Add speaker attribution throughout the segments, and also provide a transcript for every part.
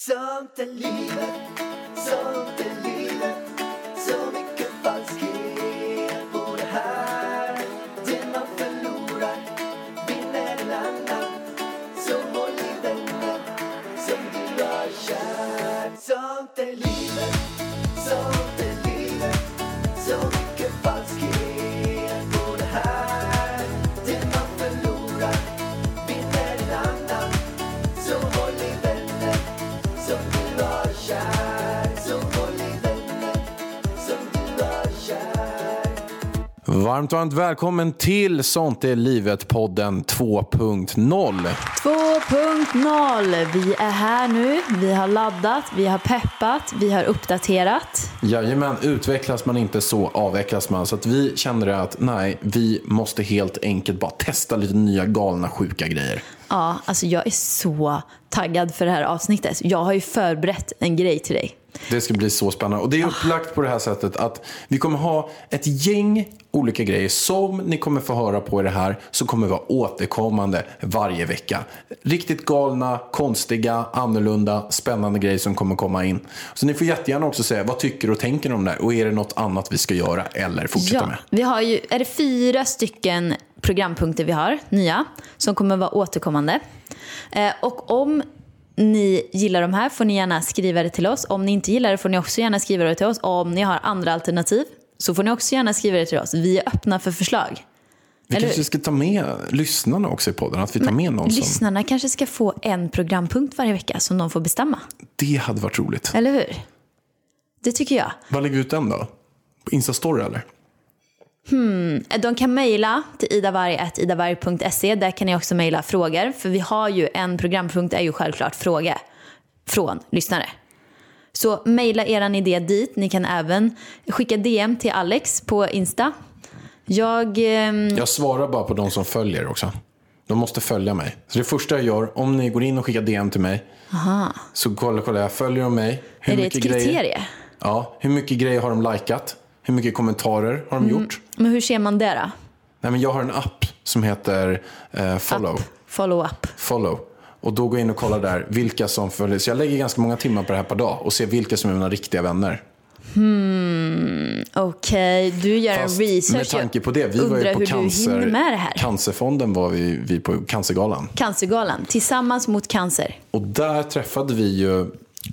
Speaker 1: Sånt är livet, sånt är livet Så mycket falskhet på det här Det man förlorar vinner en annan Så håll i vänner som du har kär Sånt är livet, sånt är livet Så mycket falskhet på det här Det man förlorar vinner en annan Så håll i vänner som du har kär Så håll i vänner som du har kär
Speaker 2: Varmt, varmt välkommen till Sånt är livet-podden 2.0.
Speaker 3: 2.0. Vi är här nu. Vi har laddat, vi har peppat, vi har uppdaterat.
Speaker 2: Jajamän, utvecklas man inte så avvecklas man. Så att vi kände det att nej, vi måste helt enkelt bara testa lite nya galna sjuka grejer.
Speaker 3: Ja, alltså jag är så taggad för det här avsnittet. Jag har ju förberett en grej till dig.
Speaker 2: Det ska bli så spännande. Och det är upplagt på det här sättet att vi kommer ha ett gäng olika grejer som ni kommer få höra på i det här som kommer vara återkommande varje vecka. Riktigt galna, konstiga, annorlunda, spännande grejer som kommer komma in. Så ni får jättegärna också säga vad tycker och tänker ni om det här och är det något annat vi ska göra eller fortsätta med?
Speaker 3: vi har ju, är det fyra stycken programpunkter vi har, nya, som kommer vara återkommande. Eh, och om ni gillar de här får ni gärna skriva det till oss. Om ni inte gillar det får ni också gärna skriva det till oss. Om ni har andra alternativ så får ni också gärna skriva det till oss. Vi är öppna för förslag.
Speaker 2: Vi
Speaker 3: Eller
Speaker 2: kanske
Speaker 3: hur?
Speaker 2: ska ta med lyssnarna också i podden, att vi tar med någon som...
Speaker 3: Lyssnarna kanske ska få en programpunkt varje vecka som de får bestämma.
Speaker 2: Det hade varit roligt.
Speaker 3: Eller hur? Det tycker jag.
Speaker 2: Var lägger vi ut den då? På Instastory eller?
Speaker 3: De kan mejla till idavarg.idavarg.se. Där kan ni också mejla frågor. För vi har ju en programpunkt är ju självklart fråga från lyssnare. Så mejla eran idé dit. Ni kan även skicka DM till Alex på Insta. Jag... ehm,
Speaker 2: Jag svarar bara på de som följer också. De måste följa mig. Så det första jag gör, om ni går in och skickar DM till mig, så kollar kollar jag, följer de mig? Hur
Speaker 3: är det
Speaker 2: mycket
Speaker 3: ett
Speaker 2: grejer-
Speaker 3: kriterie?
Speaker 2: Ja, hur mycket grejer har de likat? Hur mycket kommentarer har
Speaker 3: Mm.
Speaker 2: de gjort?
Speaker 3: Men hur ser man det då?
Speaker 2: Nej, men jag har en app som heter eh, Follow.
Speaker 3: App, follow up.
Speaker 2: Follow. Och då går jag in och kollar där vilka som följer. Så jag lägger ganska många timmar på det här per dag och ser vilka som är mina riktiga vänner.
Speaker 3: Okej, du gör
Speaker 2: Fast
Speaker 3: en research.
Speaker 2: med tanke på det, vi
Speaker 3: Jag
Speaker 2: var
Speaker 3: undrar
Speaker 2: ju på
Speaker 3: hur du hinner
Speaker 2: cancer,
Speaker 3: med det här.
Speaker 2: Cancerfonden var vi, vi på Cancergalan.
Speaker 3: Cancergalan, Tillsammans mot cancer.
Speaker 2: Och där träffade vi ju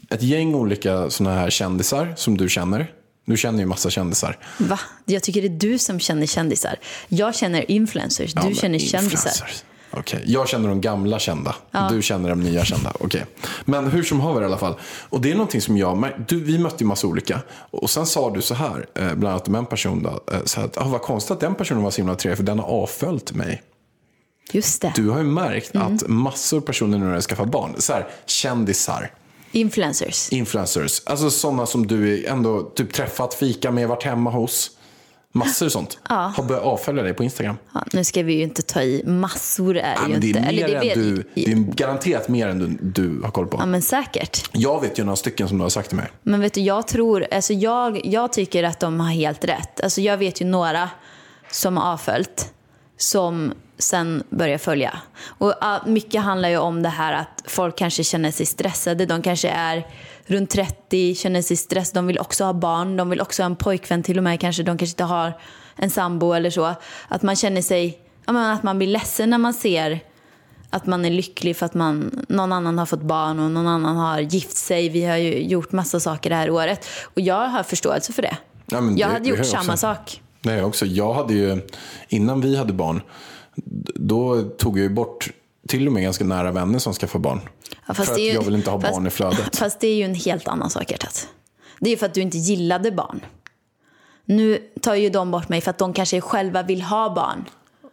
Speaker 2: ett gäng olika sådana här kändisar som du känner. Du känner ju massa kändisar.
Speaker 3: Va? Jag tycker det är du som känner kändisar. Jag känner influencers, du
Speaker 2: Ja, men
Speaker 3: känner kändisar.
Speaker 2: influencers. Okej, jag känner de gamla kända. Du känner de nya kända. Okej. Men hur som haver i alla fall. Och det är någonting som jag mär- du, Vi mötte ju massa olika. Och sen sa du så här, eh, bland annat om en person. Då, eh, så här, att, ah, vad konstigt att den personen var så himla trevlig för den har avföljt mig.
Speaker 3: Just det.
Speaker 2: Du har ju märkt
Speaker 3: Mm.
Speaker 2: att massor av personer nu när de skaffar barn, så här, kändisar,
Speaker 3: Influencers.
Speaker 2: influencers, alltså sådana som du ändå typ träffat, fika med, varit hemma hos. Massor sånt. Har börjat avfölja dig på Instagram.
Speaker 3: Ja, nu ska vi ju inte ta i massor är
Speaker 2: Ja,
Speaker 3: ju
Speaker 2: men det
Speaker 3: inte.
Speaker 2: är mer
Speaker 3: Eller
Speaker 2: än du, det är garanterat mer än du, du har koll på.
Speaker 3: Ja men säkert.
Speaker 2: Jag vet ju några stycken som du har sagt till mig.
Speaker 3: Men vet du, jag tror, alltså jag, jag tycker att de har helt rätt. Alltså jag vet ju några som har avföljt som sen börjar följa. Och ja, mycket handlar ju om det här att folk kanske känner sig stressade. De kanske är runt 30, känner sig stressade. De vill också ha barn, de vill också ha en pojkvän till och med kanske. De kanske inte har en sambo eller så. Att man känner sig, ja, men att man blir ledsen när man ser att man är lycklig för att man, någon annan har fått barn och någon annan har gift sig. Vi har ju gjort massa saker det här året. Och jag har förståelse för det.
Speaker 2: Ja, men
Speaker 3: jag
Speaker 2: det-
Speaker 3: hade
Speaker 2: det
Speaker 3: gjort
Speaker 2: har jag
Speaker 3: samma
Speaker 2: också.
Speaker 3: sak.
Speaker 2: Nej, jag också. Jag hade ju, innan vi hade barn, d- då tog jag ju bort till och med ganska nära vänner som skaffar barn.
Speaker 3: Ja,
Speaker 2: för att
Speaker 3: det är ju-
Speaker 2: jag vill inte ha
Speaker 3: fast-
Speaker 2: barn i flödet.
Speaker 3: Fast det är ju en helt annan sak, hjärtat. Det är ju för att du inte gillade barn. Nu tar ju de bort mig för att de kanske själva vill ha barn.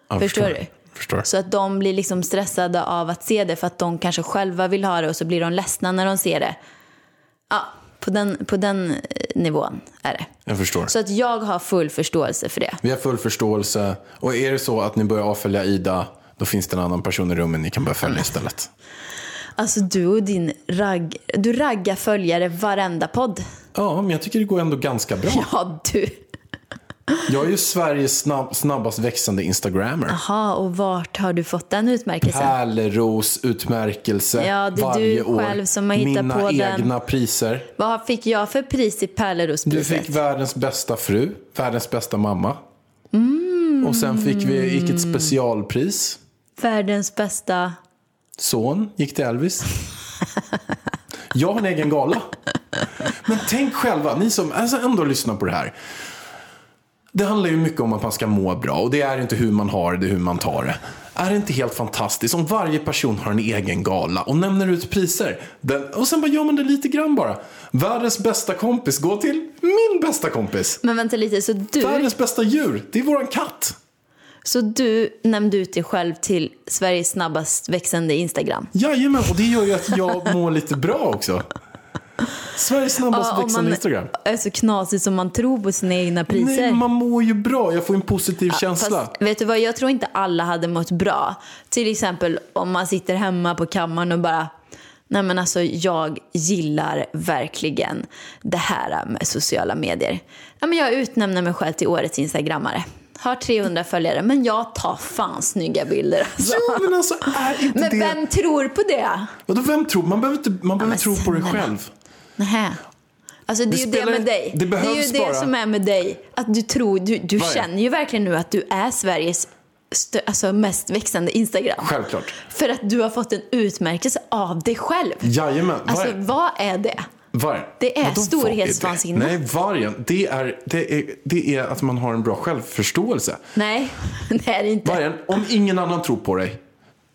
Speaker 2: Ja,
Speaker 3: förstår du?
Speaker 2: Förstår.
Speaker 3: Så att de blir liksom stressade av att se det för att de kanske själva vill ha det och så blir de ledsna när de ser det. Ja, på den, på den eh, nivån är det.
Speaker 2: Jag förstår.
Speaker 3: Så att jag har full förståelse för det.
Speaker 2: Vi har full förståelse. Och är det så att ni börjar avfölja Ida, då finns det en annan person i rummet ni kan börja följa istället.
Speaker 3: Alltså du och din ragg... Du raggar följare varenda podd.
Speaker 2: Ja, men jag tycker det går ändå ganska bra.
Speaker 3: Ja, du.
Speaker 2: Jag är ju Sveriges snabb, snabbast växande instagrammer.
Speaker 3: Jaha, och vart har du fått den utmärkelsen?
Speaker 2: Pärleros utmärkelse
Speaker 3: Ja, det är
Speaker 2: varje
Speaker 3: du
Speaker 2: år.
Speaker 3: själv som har hittat
Speaker 2: Mina
Speaker 3: på den.
Speaker 2: egna priser.
Speaker 3: Vad fick jag för pris i
Speaker 2: Du
Speaker 3: Pärlerospriset?
Speaker 2: fick världens bästa fru, världens bästa mamma.
Speaker 3: Mm.
Speaker 2: Och sen fick vi gick ett specialpris.
Speaker 3: Världens bästa...
Speaker 2: Son gick till Elvis. Jag har en egen gala. Men tänk själva, ni som alltså ändå lyssnar på det här. Det handlar ju mycket om att man ska må bra och det är inte hur man har det, det är hur man tar det. Är det inte helt fantastiskt om varje person har en egen gala och nämner ut priser? Den, och sen bara gör man det lite grann bara. Världens bästa kompis går till min bästa kompis.
Speaker 3: Men vänta lite, så du,
Speaker 2: Världens bästa djur, det är våran katt.
Speaker 3: så du nämnde ut dig själv till Sveriges snabbast växande Instagram?
Speaker 2: Jajamän, och det gör ju att jag mår lite bra också. Sveriges snabbast
Speaker 3: Ja, om
Speaker 2: växande
Speaker 3: man
Speaker 2: Instagram.
Speaker 3: är så knasig som man tror på sina egna priser.
Speaker 2: Nej, man mår ju bra. Jag får en positiv känsla.
Speaker 3: Fast, vet du vad, jag tror inte alla hade mått bra. Till exempel om man sitter hemma på kammaren och bara Nej men alltså jag gillar verkligen det här med sociala medier. Ja, men jag utnämner mig själv till årets instagrammare. Har 300 följare men jag tar fan snygga bilder alltså.
Speaker 2: Jo, men alltså är inte
Speaker 3: Men
Speaker 2: det...
Speaker 3: vem tror på det?
Speaker 2: Vadå, vem tror? Man behöver inte man behöver
Speaker 3: men
Speaker 2: tro på det
Speaker 3: snälla.
Speaker 2: själv.
Speaker 3: Nähä. Alltså det är
Speaker 2: Det
Speaker 3: ju
Speaker 2: spelar-
Speaker 3: det med dig.
Speaker 2: det
Speaker 3: Det, är ju
Speaker 2: behövs bara.
Speaker 3: det som är med dig. Att du tror, du, du
Speaker 2: Vad är det?
Speaker 3: känner ju verkligen nu att du är Sveriges stö- alltså mest växande Instagram.
Speaker 2: Självklart.
Speaker 3: För att du har fått en utmärkelse av dig själv.
Speaker 2: Jajamän.
Speaker 3: Alltså
Speaker 2: varg.
Speaker 3: vad är det?
Speaker 2: varg.
Speaker 3: det är
Speaker 2: Vadå, vad det?
Speaker 3: storhetsvansinne.
Speaker 2: Nej, vargen. Det är, det, är, det är att man har en bra självförståelse.
Speaker 3: Nej, det är det inte.
Speaker 2: Vargen, om ingen annan tror på dig,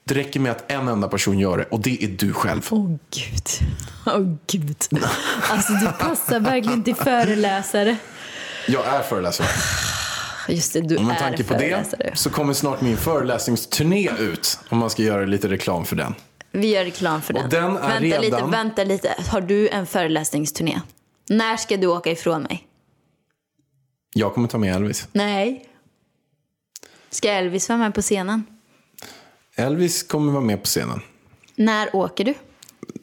Speaker 2: det räcker med att en enda person gör det och det är du själv.
Speaker 3: Åh oh, gud. Åh oh, gud. Alltså du passar verkligen till föreläsare.
Speaker 2: Jag är föreläsare.
Speaker 3: Just det, du
Speaker 2: Och med
Speaker 3: är
Speaker 2: tanke på det
Speaker 3: föreläsare.
Speaker 2: så kommer snart min föreläsningsturné ut. Om man ska göra lite reklam för den.
Speaker 3: Vi gör reklam för den.
Speaker 2: den är
Speaker 3: vänta
Speaker 2: redan-
Speaker 3: lite, vänta lite. Har du en föreläsningsturné? När ska du åka ifrån mig?
Speaker 2: Jag kommer ta med Elvis.
Speaker 3: Nej. Ska Elvis vara med på scenen?
Speaker 2: Elvis kommer vara med på scenen.
Speaker 3: När åker du?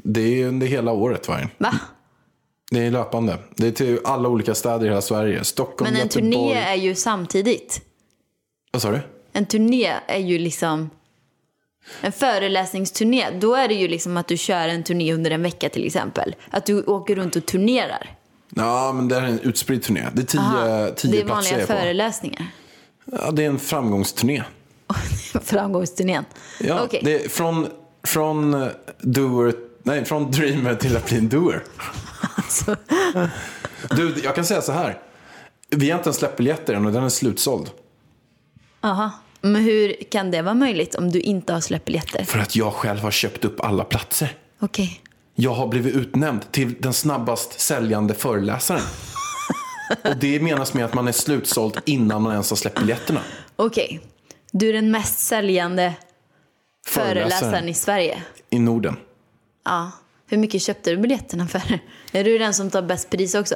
Speaker 2: Det är ju under hela året varje.
Speaker 3: Va?
Speaker 2: Det är löpande. Det är till alla olika städer i hela Sverige. Stockholm,
Speaker 3: Men en
Speaker 2: Göteborg.
Speaker 3: turné är ju samtidigt.
Speaker 2: Vad sa du?
Speaker 3: En turné är ju liksom... En föreläsningsturné, då är det ju liksom att du kör en turné under en vecka till exempel. Att du åker runt och turnerar.
Speaker 2: Ja, men det här är en utspridd turné. Det är tio,
Speaker 3: Aha, Ah, det
Speaker 2: tio
Speaker 3: är
Speaker 2: platser jag
Speaker 3: vanliga
Speaker 2: är på.
Speaker 3: föreläsningar.
Speaker 2: Ja, det är en framgångsturné.
Speaker 3: Framgångsturnén.
Speaker 2: Ja,
Speaker 3: Okej.
Speaker 2: det är från, från, eh, doer, nej, från dreamer till att bli en doer.
Speaker 3: Så-
Speaker 2: Du, jag kan säga så här. Vi har inte ens släppt biljetter än och den är slutsåld.
Speaker 3: Aha. Men hur kan det vara möjligt om du inte har släppt biljetter?
Speaker 2: För att jag själv har köpt upp alla platser.
Speaker 3: Okej.
Speaker 2: Jag har blivit utnämnd till den snabbast säljande föreläsaren. Och det menas med att man är slutsåld innan man ens har släppt biljetterna.
Speaker 3: Okej. Du är den mest säljande föreläsaren i Sverige.
Speaker 2: I Norden.
Speaker 3: Ja. Hur mycket köpte du biljetterna för? Är du den som tar bäst pris också?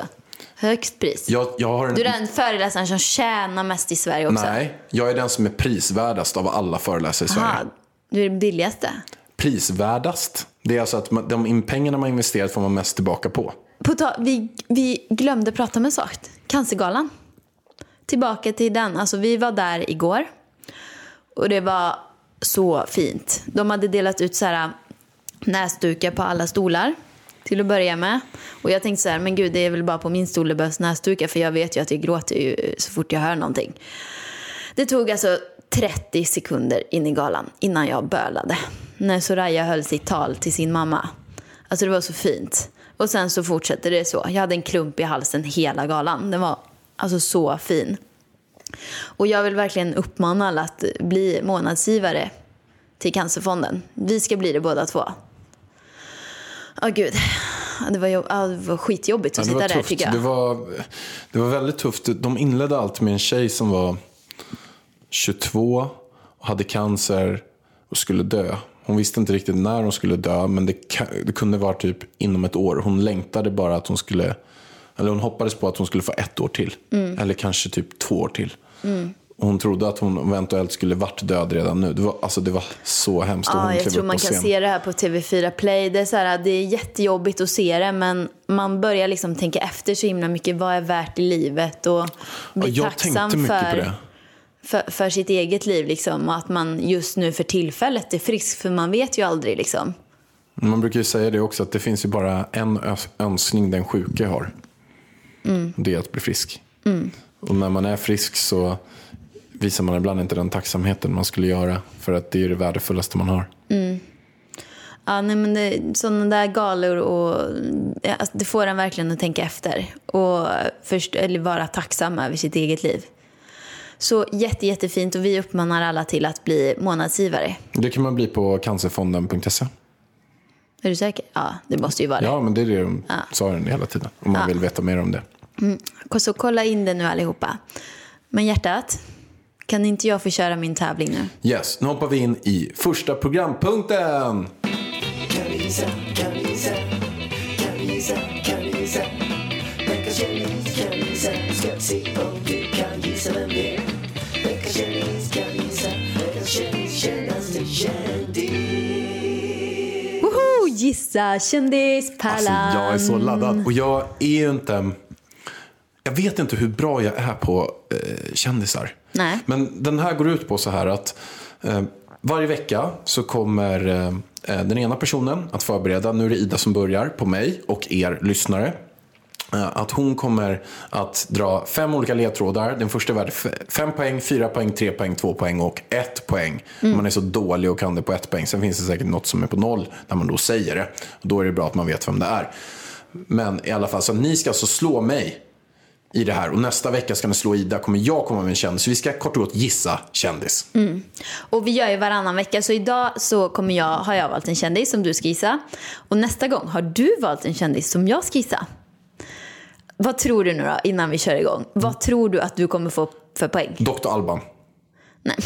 Speaker 3: Högst pris?
Speaker 2: Jag, jag har en...
Speaker 3: Du är den föreläsaren som tjänar mest i Sverige också?
Speaker 2: Nej, jag är den som är prisvärdast av alla föreläsare i Sverige.
Speaker 3: Aha, du är den billigaste?
Speaker 2: Prisvärdast. Det är alltså att man, de in- pengarna man investerat får man mest tillbaka på.
Speaker 3: På ta- vi, vi glömde prata om en sak. Cancergalan. Tillbaka till den. Alltså, vi var där igår. Och det var så fint. De hade delat ut så här äh, näsdukar på alla stolar. Till att börja med. Och jag tänkte så här, men gud det är väl bara på min stol det behövs näsdukar. För jag vet ju att jag gråter ju så fort jag hör någonting. Det tog alltså 30 sekunder in i galan innan jag bölade. När Soraya höll sitt tal till sin mamma. Alltså det var så fint. Och sen så fortsätter det så. Jag hade en klump i halsen hela galan. Den var alltså så fin. Och jag vill verkligen uppmana alla att bli månadsgivare till Cancerfonden. Vi ska bli det båda två. Åh gud. Ja, Det var, jobb- ja, det var skitjobbigt
Speaker 2: Ja,
Speaker 3: att
Speaker 2: det var
Speaker 3: sitta där tycker
Speaker 2: tufft.
Speaker 3: jag.
Speaker 2: Det var, det var väldigt tufft. De inledde allt med en tjej som var 22 och hade cancer och skulle dö. Hon visste inte riktigt när hon skulle dö, men det, ka- det kunde vara typ inom ett år. Hon längtade bara att hon
Speaker 3: Mm.
Speaker 2: skulle, eller hon hoppades på att hon skulle få ett år till. Eller kanske typ två år till. hon trodde att hon eventuellt skulle varit död redan nu. Det var, alltså, det var så hemskt. Och
Speaker 3: Ja,
Speaker 2: hon
Speaker 3: jag
Speaker 2: klev
Speaker 3: tror
Speaker 2: upp
Speaker 3: man
Speaker 2: på
Speaker 3: kan
Speaker 2: scen.
Speaker 3: se det här på TV4 Play. Det är, så här, det är jättejobbigt att se det men man börjar liksom tänka efter så himla mycket. Vad är värt i livet? Och
Speaker 2: Ja,
Speaker 3: bli
Speaker 2: jag
Speaker 3: tacksam
Speaker 2: tänkte mycket
Speaker 3: för,
Speaker 2: på det.
Speaker 3: För, för sitt eget liv liksom. Och att man just nu för tillfället är frisk för man vet ju aldrig liksom.
Speaker 2: Man brukar ju säga det också att det finns ju bara en ö- önskning den sjuke har. Det är att bli frisk. Och när man är frisk så visar man ibland inte den tacksamheten man skulle göra. För att det är det värdefullaste man har.
Speaker 3: Ja, nej, men det, sådana där galor och ja, alltså, det får en verkligen att tänka efter och först, eller vara tacksam över sitt eget liv. Så jätte, jättefint och vi uppmanar alla till att bli månadsgivare.
Speaker 2: Det kan man bli på cancerfonden.se.
Speaker 3: Är du säker? Ja, det måste ju vara det.
Speaker 2: Ja, men det är det de sa den hela tiden. Om man vill veta mer om det.
Speaker 3: Så kolla in det nu allihopa. Men hjärtat, kan inte jag få köra min tävling nu?
Speaker 2: Yes, nu hoppar vi in i första programpunkten.
Speaker 1: Kan du gissa? Kan du gissa? Kan du gissa? Kan du gissa? Veckans kändis, kan du gissa? Ska vi se om du kan gissa vem det är? Veckans kändis, kan du gissa? Veckans kändis, kändaste kändis.
Speaker 3: Woho! Gissa
Speaker 2: Alltså,
Speaker 3: kändispärlan!
Speaker 2: jag är så laddad. Och jag är ju inte... Jag vet inte hur bra jag är på eh, kändisar.
Speaker 3: Nej.
Speaker 2: Men den här går ut på så här att eh, varje vecka så kommer eh, den ena personen att förbereda, nu är det Ida som börjar, på mig och er lyssnare. Eh, Att hon kommer att dra fem olika ledtrådar. Den första är värd f- fem poäng, fyra poäng, tre poäng, två poäng och ett poäng. Man är så dålig och kan det på ett poäng. Sen finns det säkert något som är på noll när man då säger det. Och då är det bra att man vet vem det är. Men i alla fall, så ni ska alltså slå mig i det här. Och nästa vecka ska ni slå Ida, kommer jag komma med en kändis. Vi ska kort och gott gissa kändis.
Speaker 3: Och vi gör ju varannan vecka, så idag så kommer jag, har jag valt en kändis som du ska gissa. Och nästa gång har du valt en kändis som jag ska gissa. Vad tror du nu då, innan vi kör igång? Vad tror du att du kommer få för poäng?
Speaker 2: Dr. Alban.
Speaker 3: Nej,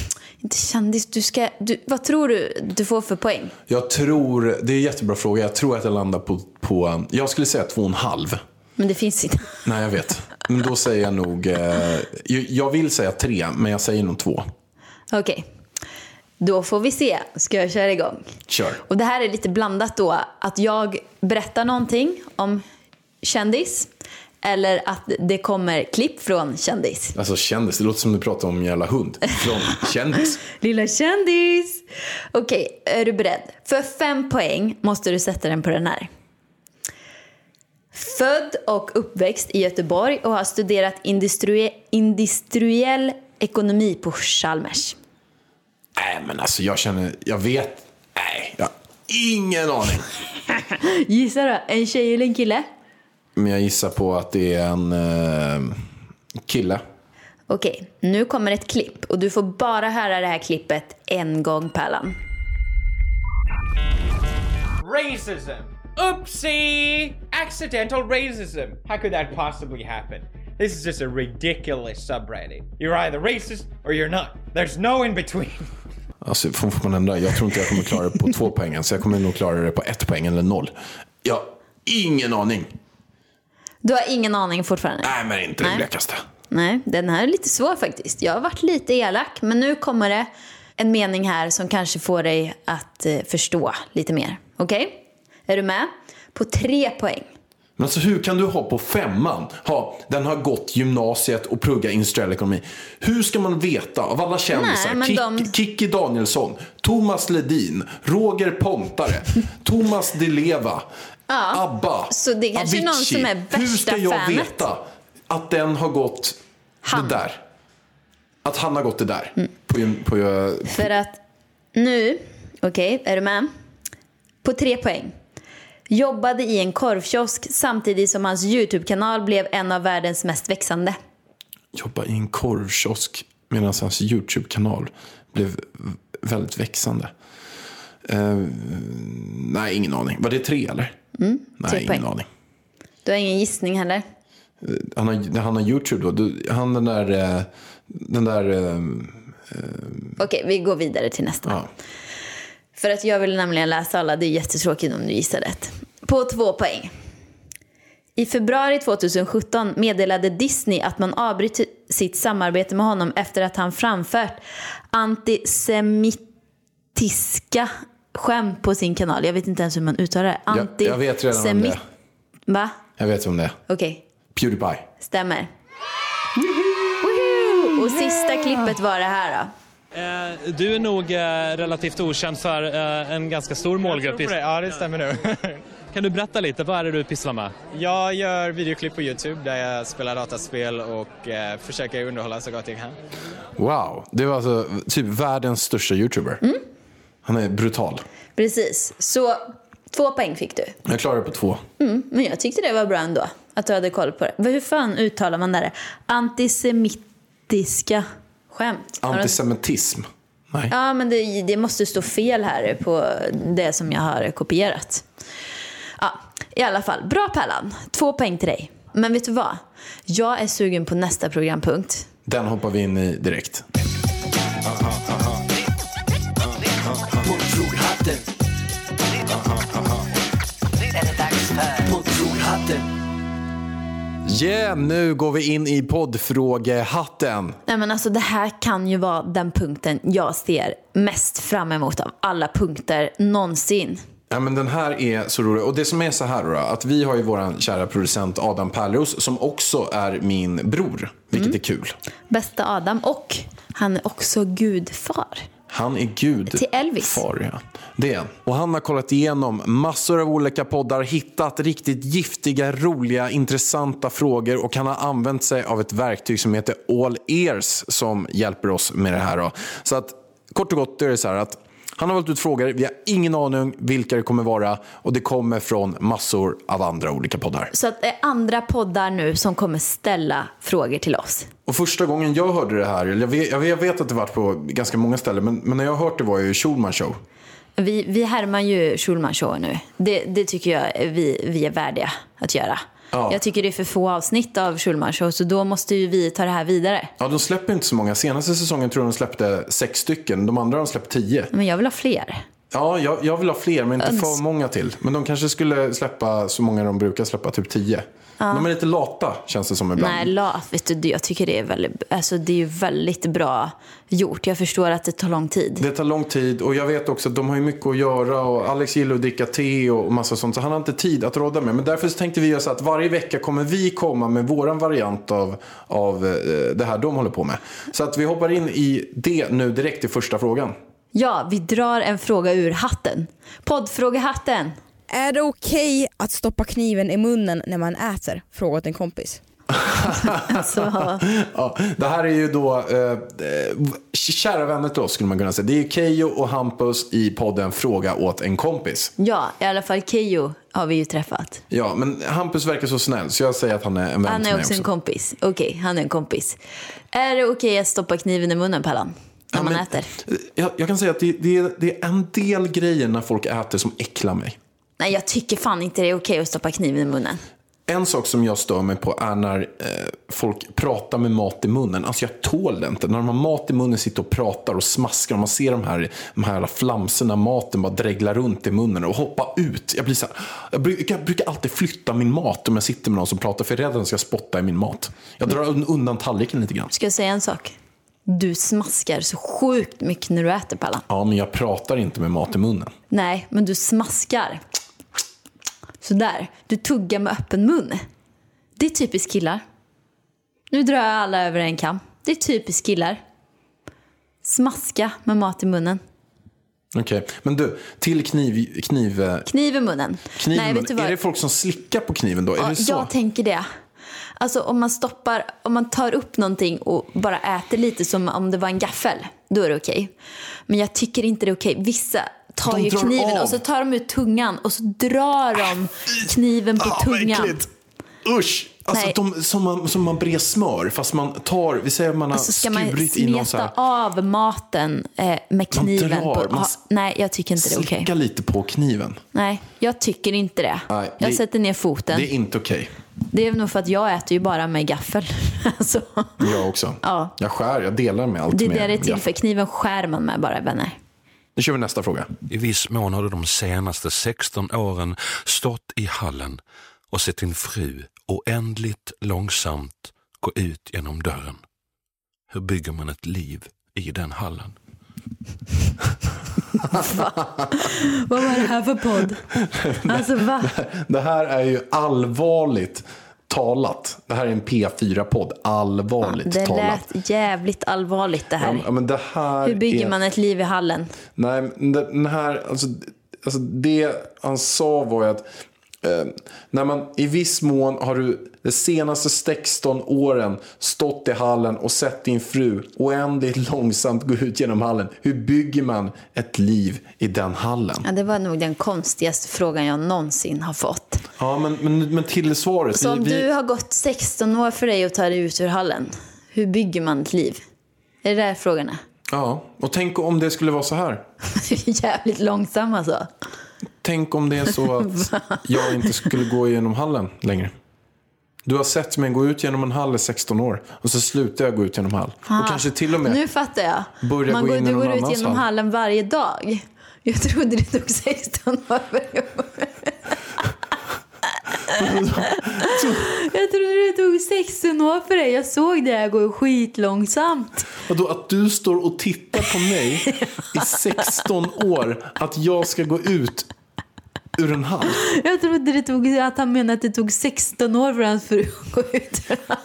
Speaker 3: inte kändis. Du ska, du, vad tror du du får för poäng?
Speaker 2: Jag tror, det är en jättebra fråga. Jag tror att jag landar på, på jag skulle säga två och en halv.
Speaker 3: Men det finns inte.
Speaker 2: Nej, jag vet. Men då säger jag nog, eh, jag- jag vill säga tre, men jag säger nog två.
Speaker 3: Okej. Då får vi se. Ska jag köra igång?
Speaker 2: Kör.
Speaker 3: Och det här är lite blandat då. Att jag berättar någonting om kändis. Eller att det kommer klipp från kändis.
Speaker 2: Alltså kändis, det låter som du pratar om en jävla hund. Från kändis.
Speaker 3: Lilla kändis! Okej, är du beredd? För fem poäng måste du sätta den på den här. Född och uppväxt i Göteborg och har studerat industrie- industriell ekonomi på Chalmers.
Speaker 2: Nej, men alltså jag känner, jag vet, nej, jag har ingen aning.
Speaker 3: Gissa då, en tjej eller en kille?
Speaker 2: Men jag gissar på att det är en eh, kille.
Speaker 3: Okej, nu kommer ett klipp och du får bara höra det här klippet en gång Pärlan.
Speaker 4: Racism. Oopsie! Accidental racism. How could that possibly happen? This is just a ridiculous subreddit. You're either racist or you're not. There's no in between.
Speaker 2: Alltså, får får man ändra? Jag tror inte jag kommer klara det på två poäng än, så jag kommer nog klara det på ett poäng eller noll. Jag har ingen aning.
Speaker 3: Du har ingen aning fortfarande?
Speaker 2: Nej, men inte det
Speaker 3: Nej.
Speaker 2: blekaste.
Speaker 3: Nej, den här är lite svår faktiskt. Jag har varit lite elak, men nu kommer det en mening här som kanske får dig att eh, förstå lite mer. Okej? Är du med? På tre poäng.
Speaker 2: Men alltså hur kan du ha på femman, ha, den har gått gymnasiet och pluggat industriell ekonomi. Hur ska man veta av alla kändisar,
Speaker 3: Nej, men
Speaker 2: Kick,
Speaker 3: de-
Speaker 2: Kikki Danielsson, Thomas Ledin, Roger Pontare, Thomas Di Leva, ABBA,
Speaker 3: så det är kanske någon som är
Speaker 2: Hur ska
Speaker 3: värsta
Speaker 2: jag
Speaker 3: fanet.
Speaker 2: veta att den har gått
Speaker 3: Han. Mm.
Speaker 2: det där? Att han har gått det där? På, gym- på, eh,
Speaker 3: För att nu, okej, är du med? På tre poäng. Jobbade i en korvkiosk samtidigt som hans YouTube-kanal blev en av världens mest växande.
Speaker 2: jobba i en korvkiosk medan hans YouTube-kanal blev väldigt växande. Eh, nej, ingen aning. Var det tre eller? nej,
Speaker 3: Mm, tre
Speaker 2: ingen
Speaker 3: poäng.
Speaker 2: aning.
Speaker 3: Du har ingen gissning heller?
Speaker 2: Han har, han har YouTube då. Du, han den där... eh, Den där eh,
Speaker 3: Okej, vi går vidare till nästa.
Speaker 2: ja.
Speaker 3: För att jag vill nämligen läsa alla, det är jättetråkigt om du gissar rätt. På två poäng. I februari 2017 meddelade Disney att man avbryter, sitt samarbete med honom efter att han framfört antisemitiska skämt på sin kanal. Jag vet inte ens hur man uttalar det.
Speaker 2: Jag, jag vet redan vem det är.
Speaker 3: Va?
Speaker 2: Jag vet vem det är.
Speaker 3: Okej,
Speaker 2: Pewdiepie.
Speaker 3: stämmer. Woho! Och sista klippet var det här då.
Speaker 5: Eh, Du är nog eh, relativt okänd för eh, en ganska stor
Speaker 4: Jag
Speaker 5: målgrupp.
Speaker 4: tror på det. Ja, det stämmer nog.
Speaker 5: Kan du berätta lite, vad är det du pysslar med?
Speaker 4: Jag gör videoklipp på Youtube där jag spelar dataspel och eh, försöker underhålla så gott jag kan.
Speaker 2: Wow. Det var alltså typ världens största YouTuber.
Speaker 3: Mm.
Speaker 2: Han är brutal.
Speaker 3: Precis, så två poäng fick du.
Speaker 2: Jag klarade på två.
Speaker 3: Men jag tyckte det var bra ändå. Att du hade koll på det. Vad- Hur fan uttalar man det? här? Antisemitiska skämt. Har du-
Speaker 2: Antisemitism. Nej.
Speaker 3: Ja, men det, det måste stå fel här på det som jag har kopierat. Ja, I alla fall, bra Pärlan. Två poäng till dig. Men vet du vad? Jag är sugen på nästa programpunkt.
Speaker 2: Den hoppar vi in i direkt.
Speaker 1: Motorhatten.
Speaker 6: Nu är det dags för
Speaker 1: Motorhatten.
Speaker 2: Yeah, nu går vi in i poddfrågehatten.
Speaker 3: Nej, men alltså, det här kan ju vara den punkten jag ser mest fram emot av alla punkter någonsin.
Speaker 2: Ja, men den här är så rolig. Och det som är så här då, att vi har ju vår kära producent Adam Pärleros som också är min bror, vilket är kul.
Speaker 3: Bästa Adam och han är också gudfar.
Speaker 2: Han är gud.
Speaker 3: Till Elvis.
Speaker 2: Far, ja. Det är han. Och han har kollat igenom massor av olika poddar, hittat riktigt giftiga, roliga, intressanta frågor och han har använt sig av ett verktyg som heter All Ears som hjälper oss med det här. Då. Så att kort och gott då är det så här att han har valt ut frågor, vi har ingen aning vilka det kommer vara och det kommer från massor av andra olika poddar.
Speaker 3: Så att det är andra poddar nu som kommer ställa frågor till oss.
Speaker 2: Och första gången jag hörde det här, eller jag vet, jag vet- jag vet att det varit på ganska många ställen, men, men när jag hört det var ju Schulman show.
Speaker 3: Vi, vi härmar ju Schulman Show nu. Det, det tycker jag vi, vi är värdiga att göra.
Speaker 2: Ja.
Speaker 3: Jag tycker det är för få avsnitt av Schulman Show så då måste ju vi ta det här vidare.
Speaker 2: Ja, de släpper inte så många. Senaste säsongen tror jag de släppte sex stycken. De andra har de släppt tio.
Speaker 3: Men jag vill ha fler.
Speaker 2: Ja, jag, jag vill ha fler, men inte
Speaker 3: Öns-
Speaker 2: för många till. Men de kanske skulle släppa så många de brukar släppa, typ tio. De är lite lata, känns det som ibland.
Speaker 3: Nej, lat, vet du, jag tycker det är väldigt, alltså det är ju väldigt bra gjort. Jag förstår att det tar lång tid.
Speaker 2: Det tar lång tid och jag vet också att de har ju mycket att göra och Alex gillar att dricka te och massa sånt. Så han har inte tid att råda med. Men därför så tänkte vi göra så att varje vecka kommer vi komma med våran variant av, av eh, det här de håller på med. Så att vi hoppar in i det nu direkt i första frågan.
Speaker 3: Ja, vi drar en fråga ur hatten. Poddfrågehatten!
Speaker 7: Är det okej att stoppa kniven i munnen när man äter? Fråga åt en kompis.
Speaker 3: Alltså,
Speaker 2: Ja, det här är ju då, eh, eh, kära vänner till oss skulle man kunna säga. Det är ju Keyyo och Hampus i podden Fråga åt en kompis.
Speaker 3: ja, i alla fall Keyyo har vi ju träffat.
Speaker 2: Ja, men Hampus verkar så snäll så jag säger att han är en vän
Speaker 3: Han
Speaker 2: till
Speaker 3: är
Speaker 2: mig
Speaker 3: också
Speaker 2: också.
Speaker 3: en kompis. Okej, han är en kompis. Är det okej att stoppa kniven i munnen, Pallan? När
Speaker 2: Ja,
Speaker 3: man
Speaker 2: men-
Speaker 3: äter?
Speaker 2: Jag, jag kan säga att det, det, är, det är en del grejer när folk äter som äcklar mig.
Speaker 3: Nej, jag tycker fan inte det är okej att stoppa kniven i munnen.
Speaker 2: En sak som jag stör mig på är när eh, folk pratar med mat i munnen. Alltså jag tål det inte. När de har mat i munnen sitter och pratar och smaskar och man ser de här, de här alla flamsorna, maten bara dregla runt i munnen och hoppa ut. Jag, blir så här, jag, brukar, jag brukar alltid flytta min mat om jag sitter med någon som pratar för jag är rädd att den ska spotta i min mat. Jag drar un- undan tallriken lite grann.
Speaker 3: Ska jag säga en sak? Du smaskar så sjukt mycket när du äter, Pallan.
Speaker 2: Ja, men jag pratar inte med mat i munnen.
Speaker 3: Nej, men du smaskar. Sådär. Du tuggar med öppen mun. Det är typiskt killar. Nu drar jag alla över en kam. Det är typiskt killar. Smaska med mat i munnen.
Speaker 2: Okej, men du, till kniv... kniv eh,
Speaker 3: Kniv i munnen.
Speaker 2: Kniv i
Speaker 3: Nej, vet
Speaker 2: munnen.
Speaker 3: du vad?
Speaker 2: Är det folk som slickar på kniven då? är
Speaker 3: Ja,
Speaker 2: det så?
Speaker 3: jag tänker det. Alltså om man stoppar, om man tar upp någonting och bara äter lite som om det var en gaffel, då är det okej. Men jag tycker inte det är okej. Vissa tar
Speaker 2: De
Speaker 3: ju
Speaker 2: drar
Speaker 3: kniven
Speaker 2: av.
Speaker 3: och så tar de ut tungan och så drar de kniven på
Speaker 2: Ah, vad
Speaker 3: tungan.
Speaker 2: äckligt. Usch! Alltså
Speaker 3: Nej.
Speaker 2: de, som, man, som man brer smör, fast man tar, vi säger att man har
Speaker 3: Så Alltså, ska man
Speaker 2: skurit i någon så
Speaker 3: smeta
Speaker 2: här,
Speaker 3: av maten eh, med
Speaker 2: Man
Speaker 3: kniven.
Speaker 2: drar,
Speaker 3: på,
Speaker 2: man
Speaker 3: ha,
Speaker 2: s-
Speaker 3: nej, jag tycker inte det är okej.
Speaker 2: slicka lite på kniven.
Speaker 3: Nej, jag tycker inte det.
Speaker 2: Nej,
Speaker 3: jag
Speaker 2: det-
Speaker 3: sätter ner foten.
Speaker 2: Det är inte okej.
Speaker 3: Det är nog för att jag äter ju bara med gaffel. alltså.
Speaker 2: Jag också.
Speaker 3: Ja.
Speaker 2: Jag skär, jag delar med allt.
Speaker 3: Det är
Speaker 2: med,
Speaker 3: det det är till
Speaker 2: Ja.
Speaker 3: för. Kniven skär man med bara, vänner.
Speaker 2: Nu kör vi nästa fråga.
Speaker 8: I viss mån har du de senaste 16 åren stått i hallen och sett din fru oändligt långsamt gå ut genom dörren. Hur bygger man ett liv i den hallen?
Speaker 3: Vad var det här för podd? Alltså va?
Speaker 2: Det här är ju allvarligt talat. Det här är en P4-podd. Allvarligt
Speaker 3: Det
Speaker 2: talat.
Speaker 3: lät jävligt allvarligt det
Speaker 2: Ja,
Speaker 3: här.
Speaker 2: men- ja, men det här
Speaker 3: Hur bygger
Speaker 2: är...
Speaker 3: man ett liv i hallen?
Speaker 2: Nej, men den den här, alltså, alltså det han sa var ju att eh, när man i viss mån har du de senaste 16 åren stått i hallen och sett din fru oändligt långsamt gå ut genom hallen. Hur bygger man ett liv i den hallen?
Speaker 3: Ja, det var nog den konstigaste frågan jag någonsin har fått.
Speaker 2: Ja, men, men, men till svaret.
Speaker 3: Så om du har gått 16 år för dig och tar dig ut ur hallen, hur bygger man ett liv? Är det där frågan är?
Speaker 2: Ja, och tänk om det skulle vara så här.
Speaker 3: Du är jävligt långsam alltså.
Speaker 2: Tänk om det är så att jag inte skulle gå igenom hallen längre. Du har sett mig gå ut genom en hall i 16 år och så slutar jag gå ut genom hall. Och kanske till och med...
Speaker 3: Ah. Nu fattar jag.
Speaker 2: Börja gå in i
Speaker 3: du
Speaker 2: någon
Speaker 3: går ut
Speaker 2: annans
Speaker 3: genom
Speaker 2: hall.
Speaker 3: hallen varje dag. Jag trodde det tog 16 år. för dig. Jag trodde det tog 16 år för dig. Jag såg det här gå skitlångsamt.
Speaker 2: Vadå, att du står och tittar på mig i 16 år att jag ska gå ut ur en hall?
Speaker 3: Jag trodde det tog, att han menade att det tog 16 år för hans fru att gå ut.
Speaker 2: Ja,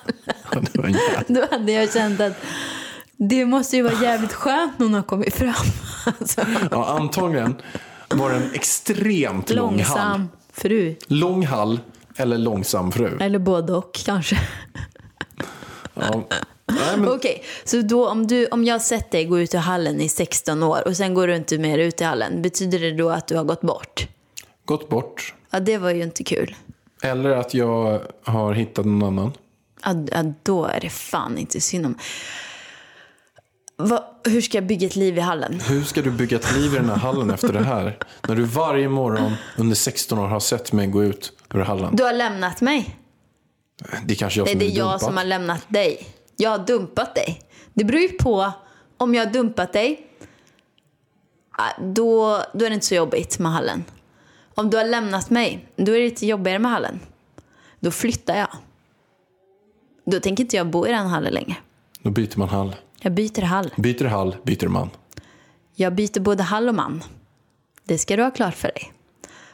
Speaker 2: det var en jävla-
Speaker 3: Då hade jag känt att det måste ju vara jävligt skönt när hon har kommit fram. Alltså,
Speaker 2: Ja, antagligen var det en extremt lång hall.
Speaker 3: långsam fru.
Speaker 2: Lång hall eller långsam fru.
Speaker 3: Eller både och kanske.
Speaker 2: Ja. Nej, men,
Speaker 3: Okej, så då om, du, om jag sett dig gå ut i hallen i 16 år och sen går du inte mer ut i hallen, betyder det då att du har gått bort?
Speaker 2: gått bort.
Speaker 3: Ja, det var ju inte kul.
Speaker 2: Eller att jag har hittat någon annan.
Speaker 3: Ja, ja, då är det fan inte synd om... Va, hur ska jag bygga ett liv i hallen?
Speaker 2: Hur ska du bygga ett liv i den här hallen efter det här? När du varje morgon under 16 år har sett mig gå ut ur hallen.
Speaker 3: Du har lämnat mig.
Speaker 2: Det är kanske jag
Speaker 3: Nej,
Speaker 2: som
Speaker 3: det är
Speaker 2: blir
Speaker 3: jag
Speaker 2: dumpad.
Speaker 3: som har lämnat dig. Jag har dumpat dig. Det beror ju på om jag har dumpat dig. ah, Då, då är det inte så jobbigt med hallen. Om du har lämnat mig, då är det lite jobbigare med hallen. Då flyttar jag. Då tänker inte jag bo i den hallen längre.
Speaker 2: Då byter man hall.
Speaker 3: Jag byter hall.
Speaker 2: Byter hall, byter man.
Speaker 3: Jag byter både hall och man. Det ska du ha klart för dig.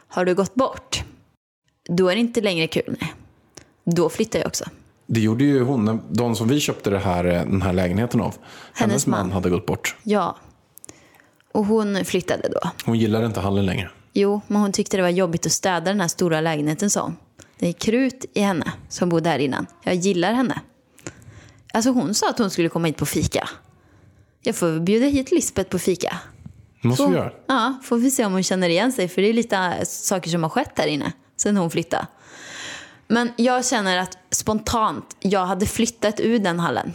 Speaker 3: Har du gått bort, då är det inte längre kul. Nej. Då flyttar jag också.
Speaker 2: Det gjorde ju hon, de som vi köpte det här, eh, den här lägenheten av. Hennes, man.
Speaker 3: man.
Speaker 2: hade gått bort.
Speaker 3: Ja. Och hon flyttade då.
Speaker 2: Hon gillade inte hallen längre.
Speaker 3: Jo, men hon tyckte det var jobbigt att städa den här stora lägenheten, sa hon. Det är krut i henne som bodde här innan. Jag gillar henne. Alltså hon sa att hon skulle komma hit på fika. Jag får bjuda hit Lisbeth på fika.
Speaker 2: Det måste vi
Speaker 3: Så-
Speaker 2: göra.
Speaker 3: Ja, får vi se om hon känner igen sig. För det är lite äh, saker som har skett här inne sen hon flyttade. Men jag känner att spontant, jag hade flyttat ur den hallen.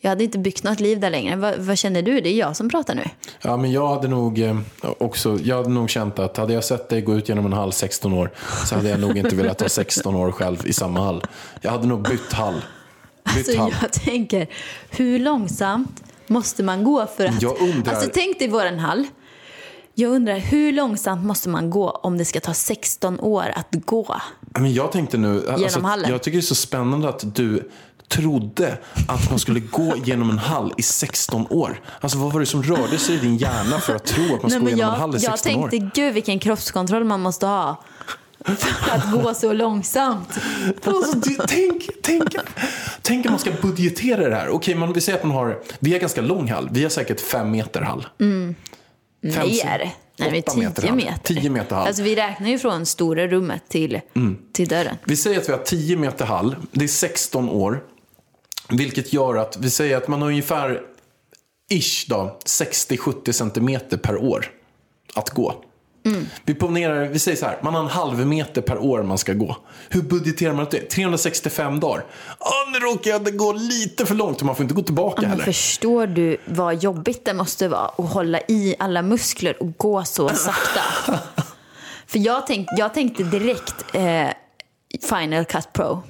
Speaker 3: Jag hade inte byggt något liv där längre. Vad, vad känner du? Det är jag som pratar nu.
Speaker 2: Ja, men jag hade nog eh, också, jag hade nog känt att hade jag sett dig gå ut genom en hall 16 år så hade jag nog inte velat ha 16 år själv i samma hall. Jag hade nog bytt hall. Bytt
Speaker 3: Så
Speaker 2: hall.
Speaker 3: Alltså, jag tänker, hur långsamt måste man gå för att...
Speaker 2: Jag undrar-
Speaker 3: Alltså tänk dig våran hall. Jag undrar, hur långsamt måste man gå om det ska ta 16 år att gå?
Speaker 2: Ja, Men jag tänkte nu, alltså,
Speaker 3: hallen.
Speaker 2: jag tycker det är så spännande att du trodde att man skulle gå genom en hall i 16 år. Alltså vad var det som rörde sig i din hjärna för att tro att man skulle gå genom en hall
Speaker 3: jag,
Speaker 2: i
Speaker 3: jag
Speaker 2: 16 år?
Speaker 3: tänkte, gud vilken kroppskontroll man måste ha för att gå så långsamt.
Speaker 2: Alltså, du, tänk, tänk, tänk om man ska budgetera det här. Okej, man vill säga att man har, vi har ganska lång hall. Vi har säkert fem meter hall. Fem,
Speaker 3: Mer. Mm, Nej, men
Speaker 2: åtta
Speaker 3: 10
Speaker 2: meter hall.
Speaker 3: meter.
Speaker 2: 10 meter hall.
Speaker 3: Alltså vi räknar ju från stora rummet till,
Speaker 2: Mm.
Speaker 3: till dörren.
Speaker 2: Vi säger att vi har 10 meter hall. Det är 16 år. Vilket gör att vi säger att man har ungefär ish då, 60-70 centimeter per år att gå. Vi, ponerar, vi säger så här, man har en halv meter per år man ska gå. Hur budgeterar man det? 365 dagar. Åh, nu råkar jag gå lite för långt och man får inte gå tillbaka
Speaker 3: Men
Speaker 2: heller.
Speaker 3: förstår du vad jobbigt det måste vara att hålla i alla muskler och gå så sakta? För jag, tänk, jag tänkte direkt eh, Final Cut Pro.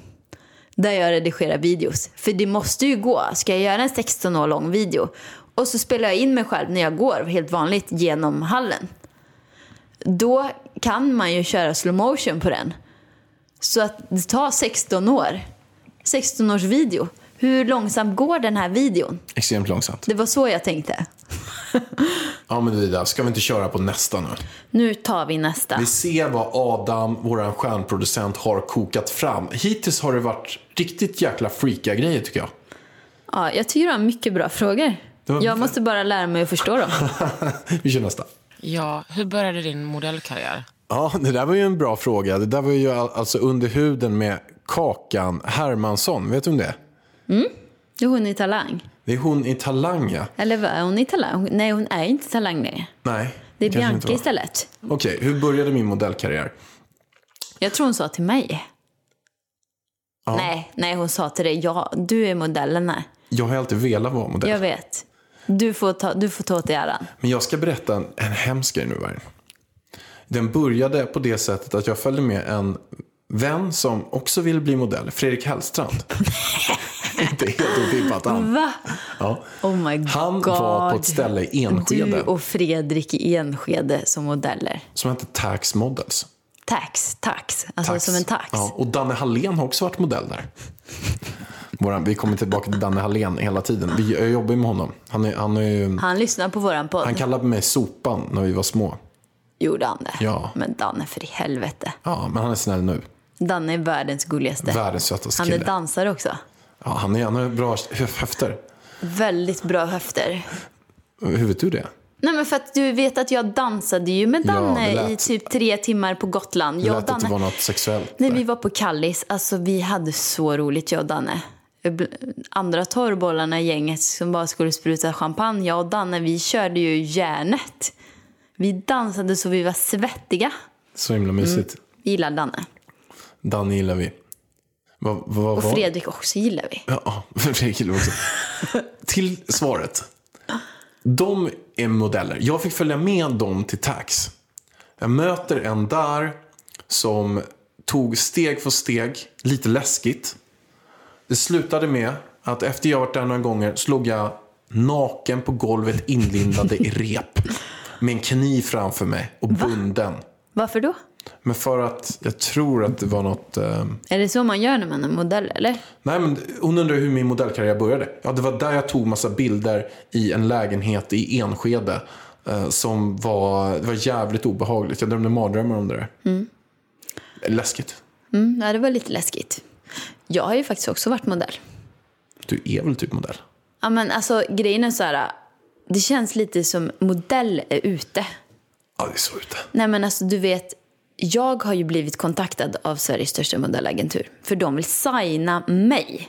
Speaker 3: Där jag redigerar videos. För det måste ju gå. Ska jag göra en 16 år lång video och så spelar jag in mig själv när jag går helt vanligt genom hallen. Då kan man ju köra slow motion på den. Så att det tar 16 år. 16 års video. hur långsamt går den här videon?
Speaker 2: Extremt långsamt.
Speaker 3: Det var så jag tänkte.
Speaker 2: Ja men Vida, ska vi inte köra på nästa nu?
Speaker 3: Nu tar vi nästa.
Speaker 2: Vi ser vad Adam, våran stjärnproducent, har kokat fram. Hittills har det varit riktigt jäkla freaka grejer tycker jag.
Speaker 3: Ja, jag tycker du har mycket bra frågor.
Speaker 2: var-
Speaker 3: Jag måste bara lära mig att förstå dem.
Speaker 2: Vi kör nästa.
Speaker 9: Ja, hur började din modellkarriär?
Speaker 2: Ja, det där var ju en bra fråga. Det där var ju all- alltså under huden med Kakan Hermansson. Vet du om det är?
Speaker 3: Det är hon i Talang.
Speaker 2: Det är hon i Talang ja.
Speaker 3: Eller vad, är hon i Talang? Nej, hon är inte Talang längre.
Speaker 2: Nej.
Speaker 3: Det är
Speaker 2: kanske inte
Speaker 3: Bianca
Speaker 2: var.
Speaker 3: istället.
Speaker 2: Okej, hur började min modellkarriär?
Speaker 3: Jag tror hon sa till mig. Nej, nej, hon sa till dig. Ja, du är modellen här.
Speaker 2: Jag har alltid velat vara modell.
Speaker 3: Jag vet. Du får ta, du får ta åt dig äran.
Speaker 2: Men jag ska berätta en, en hemsk grej nu. Vargen. Den började på det sättet att jag följde med en vän som också ville bli modell, Fredrik Hellstrand. Inte helt otippat han.
Speaker 3: Va?
Speaker 2: Ja.
Speaker 3: Mm. Oh my
Speaker 2: Han
Speaker 3: god.
Speaker 2: var på ett ställe i Enskede
Speaker 3: Du och Fredrik i Enskede som modeller.
Speaker 2: som hette Tax Models.
Speaker 3: Tax, tax. Alltså
Speaker 2: Tax.
Speaker 3: som en tax.
Speaker 2: Ja, och Danne Hallén har också varit modell där. Våran, vi kommer tillbaka till Danne Hallén hela tiden. Vi, jag jobbar ju med honom. Han, är, han, är ju,
Speaker 3: Han lyssnar på våran podd.
Speaker 2: han kallade mig Sopan när vi var små.
Speaker 3: Gjorde han det?
Speaker 2: Ja.
Speaker 3: Men Danne, för i helvete.
Speaker 2: Ja, men han är snäll nu.
Speaker 3: Danne är världens gulligaste.
Speaker 2: Världens sötaste
Speaker 3: han är
Speaker 2: kille.
Speaker 3: dansare också.
Speaker 2: Ja, han, är, han har bra höf- höfter.
Speaker 3: Väldigt bra höfter.
Speaker 2: Hur vet du det?
Speaker 3: Nej men för att du vet att jag dansade ju med
Speaker 2: Ja,
Speaker 3: Danne
Speaker 2: det lät-
Speaker 3: i typ tre timmar på Gotland.
Speaker 2: Det
Speaker 3: Jag och
Speaker 2: lät att det
Speaker 3: Danne...
Speaker 2: var något sexuellt.
Speaker 3: Nej,
Speaker 2: där.
Speaker 3: vi var på Kallis. Alltså vi hade så roligt jag och Danne. Ibl- Andra torrbollarna i gänget som bara skulle spruta champagne. Jag och Danne, vi körde ju järnet. Vi dansade så vi var svettiga.
Speaker 2: Så himla mysigt.
Speaker 3: Vi gillar Danne.
Speaker 2: Danne gillar vi. Vad va, va,
Speaker 3: Och Fredrik också gillar vi.
Speaker 2: Ja, Fredrik gillar vi också. till svaret. De är modeller. Jag fick följa med dem till Tax. Jag möter en där som tog steg för steg, lite läskigt. Det slutade med att efter jag varit där några gånger slog jag naken på golvet inlindade i rep. Med en kniv framför mig och bunden.
Speaker 3: Varför då?
Speaker 2: Men för att jag tror att det var något... Eh...
Speaker 3: Är det så man gör när man är modell eller?
Speaker 2: Nej, men hon undrar hur min modellkarriär började. Ja, det var där jag tog massa bilder i en lägenhet i Enskede. Eh, som var, det var jävligt obehagligt. Jag drömde mardrömmar om det där. Läskigt.
Speaker 3: Mm, ja, det var lite läskigt. Jag har ju faktiskt också varit modell.
Speaker 2: Du är väl typ modell?
Speaker 3: Ja, men alltså grejen är så här. Det känns lite som modell är ute.
Speaker 2: Ja, det är så ute.
Speaker 3: Nej men alltså du vet, jag har ju blivit kontaktad av Sveriges största modellagentur. För de vill signa mig.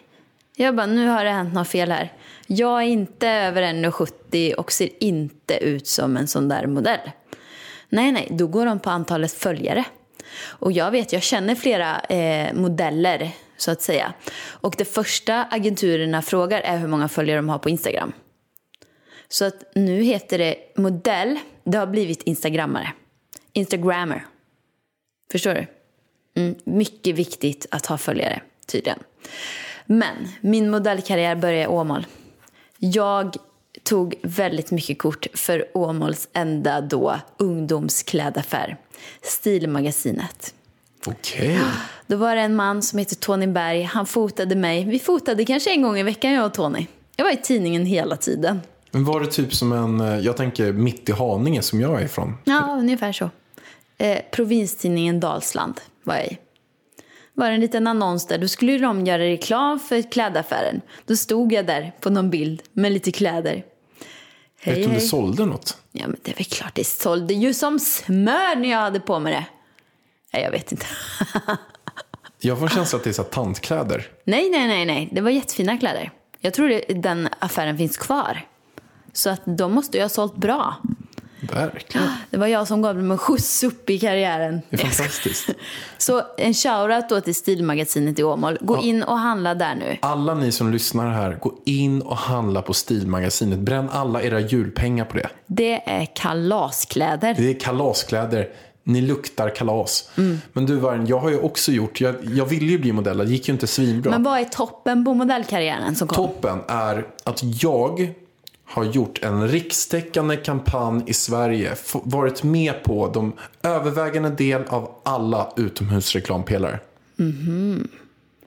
Speaker 3: Jag bara, nu har det hänt något fel här. Jag är inte över 1,70 och ser inte ut som en sån där modell. Nej, nej, då går de på antalet följare. Och jag vet, jag känner flera eh, modeller så att säga. Och det första agenturerna frågar är hur många följare de har på Instagram. Så att nu heter det modell, det har blivit instagrammare. Instagrammer. Förstår du? Mm, mycket viktigt att ha följare, tydligen. Men min modellkarriär började i Åmål. Jag tog väldigt mycket kort för Åmåls enda då ungdomsklädaffär, Stilmagasinet.
Speaker 2: Okej.
Speaker 3: Då var det en man som heter Tony Berg. Han fotade mig. Vi fotade kanske en gång i veckan, jag och Tony. Jag var i tidningen hela tiden.
Speaker 2: Men var det typ som en, eh, jag tänker mitt i Haninge som jag är ifrån.
Speaker 3: Ja, ungefär så. Eh, provinstidningen Dalsland var jag i. var en liten annons där. Då skulle ju de göra reklam för klädaffären. Då stod jag där på någon bild med lite kläder.
Speaker 2: Vet du
Speaker 3: Hej,
Speaker 2: om du
Speaker 3: hej.
Speaker 2: sålde något?
Speaker 3: Ja, men det är väl klart det sålde ju som smör när jag hade på mig det. Nej, jag vet inte.
Speaker 2: Jag får en känsla att det är så här tantkläder.
Speaker 3: Nej, nej, nej, nej. Det var jättefina kläder. Jag tror det, den affären finns kvar. Så att de måste ju ha sålt bra.
Speaker 2: Verkligen.
Speaker 3: Det var jag som gav dem en skjuts upp i karriären.
Speaker 2: Det är fantastiskt.
Speaker 3: Så en shoutout då till Stilmagasinet i Åmål. Gå in och handla där nu.
Speaker 2: Alla ni som lyssnar här, gå in och handla på Stilmagasinet. Bränn alla era julpengar på det.
Speaker 3: Det är kalaskläder.
Speaker 2: Det är kalaskläder. Ni luktar kalas. Men du Vargen, jag har ju också gjort, jag, jag ville ju bli modell, det gick ju inte svinbra.
Speaker 3: Men vad är toppen på modellkarriären som kom?
Speaker 2: Toppen är att jag har gjort en rikstäckande kampanj i Sverige. f- Varit med på de övervägande del av alla utomhusreklampelare.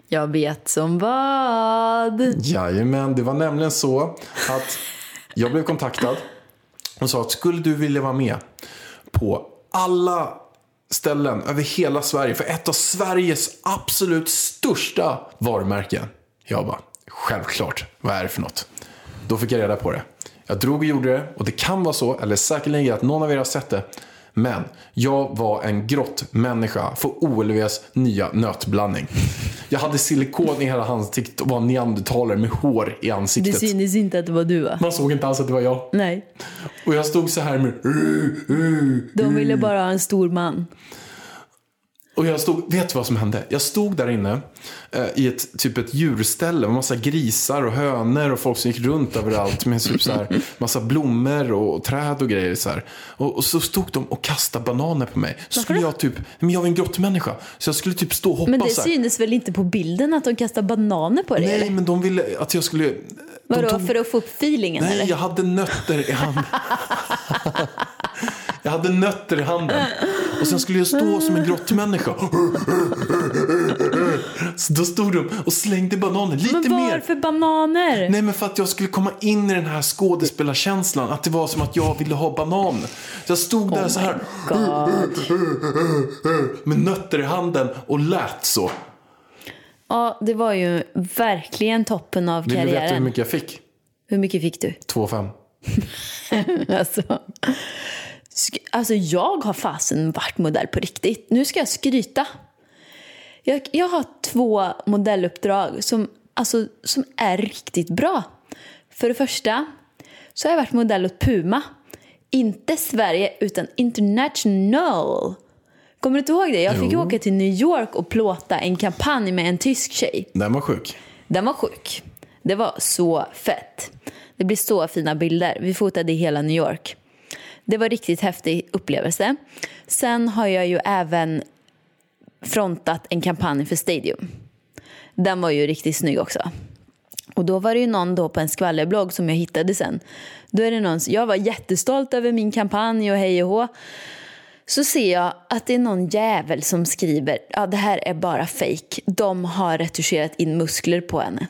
Speaker 3: Jag vet som vad.
Speaker 2: Jajamän, det var nämligen så att jag blev kontaktad och sa att skulle du vilja vara med på alla ställen över hela Sverige för ett av Sveriges absolut största varumärken? Jag bara, självklart, vad är det för något? Då fick jag reda på det. Jag drog och gjorde det och det kan vara så, eller säkerligen att någon av er har sett det. Men jag var en grottmänniska för OLVs nya nötblandning. Jag hade silikon i hela ansiktet och var neandertalare med hår i
Speaker 3: Det
Speaker 2: ansiktet.
Speaker 3: synes inte att det var du va?
Speaker 2: Man såg inte alls att det var jag.
Speaker 3: Nej.
Speaker 2: Och jag stod så här med... Mm.
Speaker 3: De ville bara ha en stor man.
Speaker 2: Och jag stod, vet du vad som hände? Jag stod där inne eh, i ett typ ett djurställe med massa grisar och hönor och folk som gick runt överallt med typ så här, massa blommor och, och träd och grejer. Så här. Och, och så stod de och kastade bananer på mig. Så skulle jag typ, men jag var en grottmänniska. Så jag skulle typ stå och hoppa
Speaker 3: Men det
Speaker 2: så här.
Speaker 3: syntes väl inte på bilden att de kastar bananer på dig?
Speaker 2: Nej,
Speaker 3: eller?
Speaker 2: men de ville att jag skulle... de
Speaker 3: Vadå,
Speaker 2: tog-
Speaker 3: för att få upp feelingen
Speaker 2: Nej,
Speaker 3: eller?
Speaker 2: jag hade nötter i handen. jag hade nötter i handen. Och sen skulle jag stå som en grottmänniska. Så då stod de och slängde bananer lite
Speaker 3: men
Speaker 2: mer.
Speaker 3: varför bananer?
Speaker 2: Nej men för att jag skulle komma in i den här skådespelarkänslan. Att det var som att jag ville ha banan. Så jag stod
Speaker 3: Oh
Speaker 2: där så här
Speaker 3: God.
Speaker 2: med nötter i handen och lät så.
Speaker 3: Ja, det var ju verkligen toppen av
Speaker 2: Vill du veta hur
Speaker 3: karriären.
Speaker 2: mycket jag fick?
Speaker 3: Hur mycket fick du?
Speaker 2: 2,5.
Speaker 3: Alltså, sk- alltså jag har fasen varit modell på riktigt. Nu ska jag skryta. Jag, jag har två modelluppdrag som, alltså, som är riktigt bra. För det första så har jag varit modell åt Puma. Inte Sverige utan international. Kommer du inte ihåg det? Jag fick åka till New York och plåta en kampanj med en tysk tjej.
Speaker 2: Den var sjuk.
Speaker 3: Den var sjuk. Det var så fett. Det blir så fina bilder. Vi fotade i hela New York. Det var riktigt häftig upplevelse. Sen har jag ju även frontat en kampanj för Stadium. Den var ju riktigt snygg också. Och då var det ju någon då på en skvallerblogg som jag hittade sen. Då är det någon, jag var jättestolt över min kampanj och hej och hå. Så ser jag att det är någon jävel som skriver ja det här är bara fake. De har retuscherat in muskler på henne.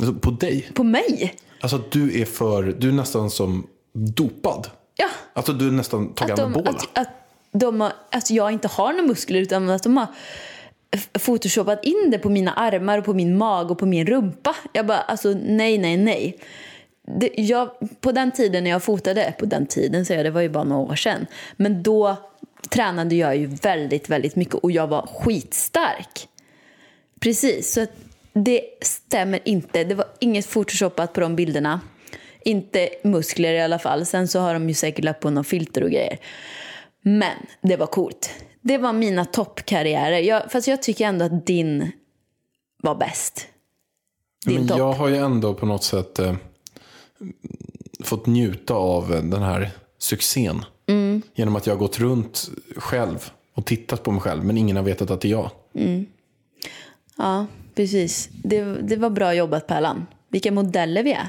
Speaker 2: Alltså, på dig?
Speaker 3: På mig?
Speaker 2: Alltså att du är för, du är nästan som dopad.
Speaker 3: Ja.
Speaker 2: Alltså du är nästan tagit
Speaker 3: Att, de,
Speaker 2: anabola.
Speaker 3: att, att, de har, att jag inte har några muskler utan att de har f- photoshopat in det på mina armar och på min mag och på min rumpa. Jag bara alltså nej, nej, nej. Det, jag, på den tiden när jag fotade, på den tiden säger jag, det var ju bara några år sedan. Men då tränade jag ju väldigt, väldigt mycket och jag var skitstark. Precis, så att det stämmer inte. Det var inget photoshoppat på de bilderna. Inte muskler i alla fall. Sen så har de ju säkert lagt på någon filter och grejer. Men det var coolt. Det var mina toppkarriärer. Jag, fast jag tycker ändå att din var bäst. Din
Speaker 2: Men
Speaker 3: topp.
Speaker 2: jag har ju ändå på något sätt eh, fått njuta av eh, den här succén.
Speaker 3: Mm.
Speaker 2: Genom att jag har gått runt själv och tittat på mig själv men ingen har vetat att det är jag.
Speaker 3: Ja, precis. Det, det var bra jobbat Pärlan. Vilka modeller vi är.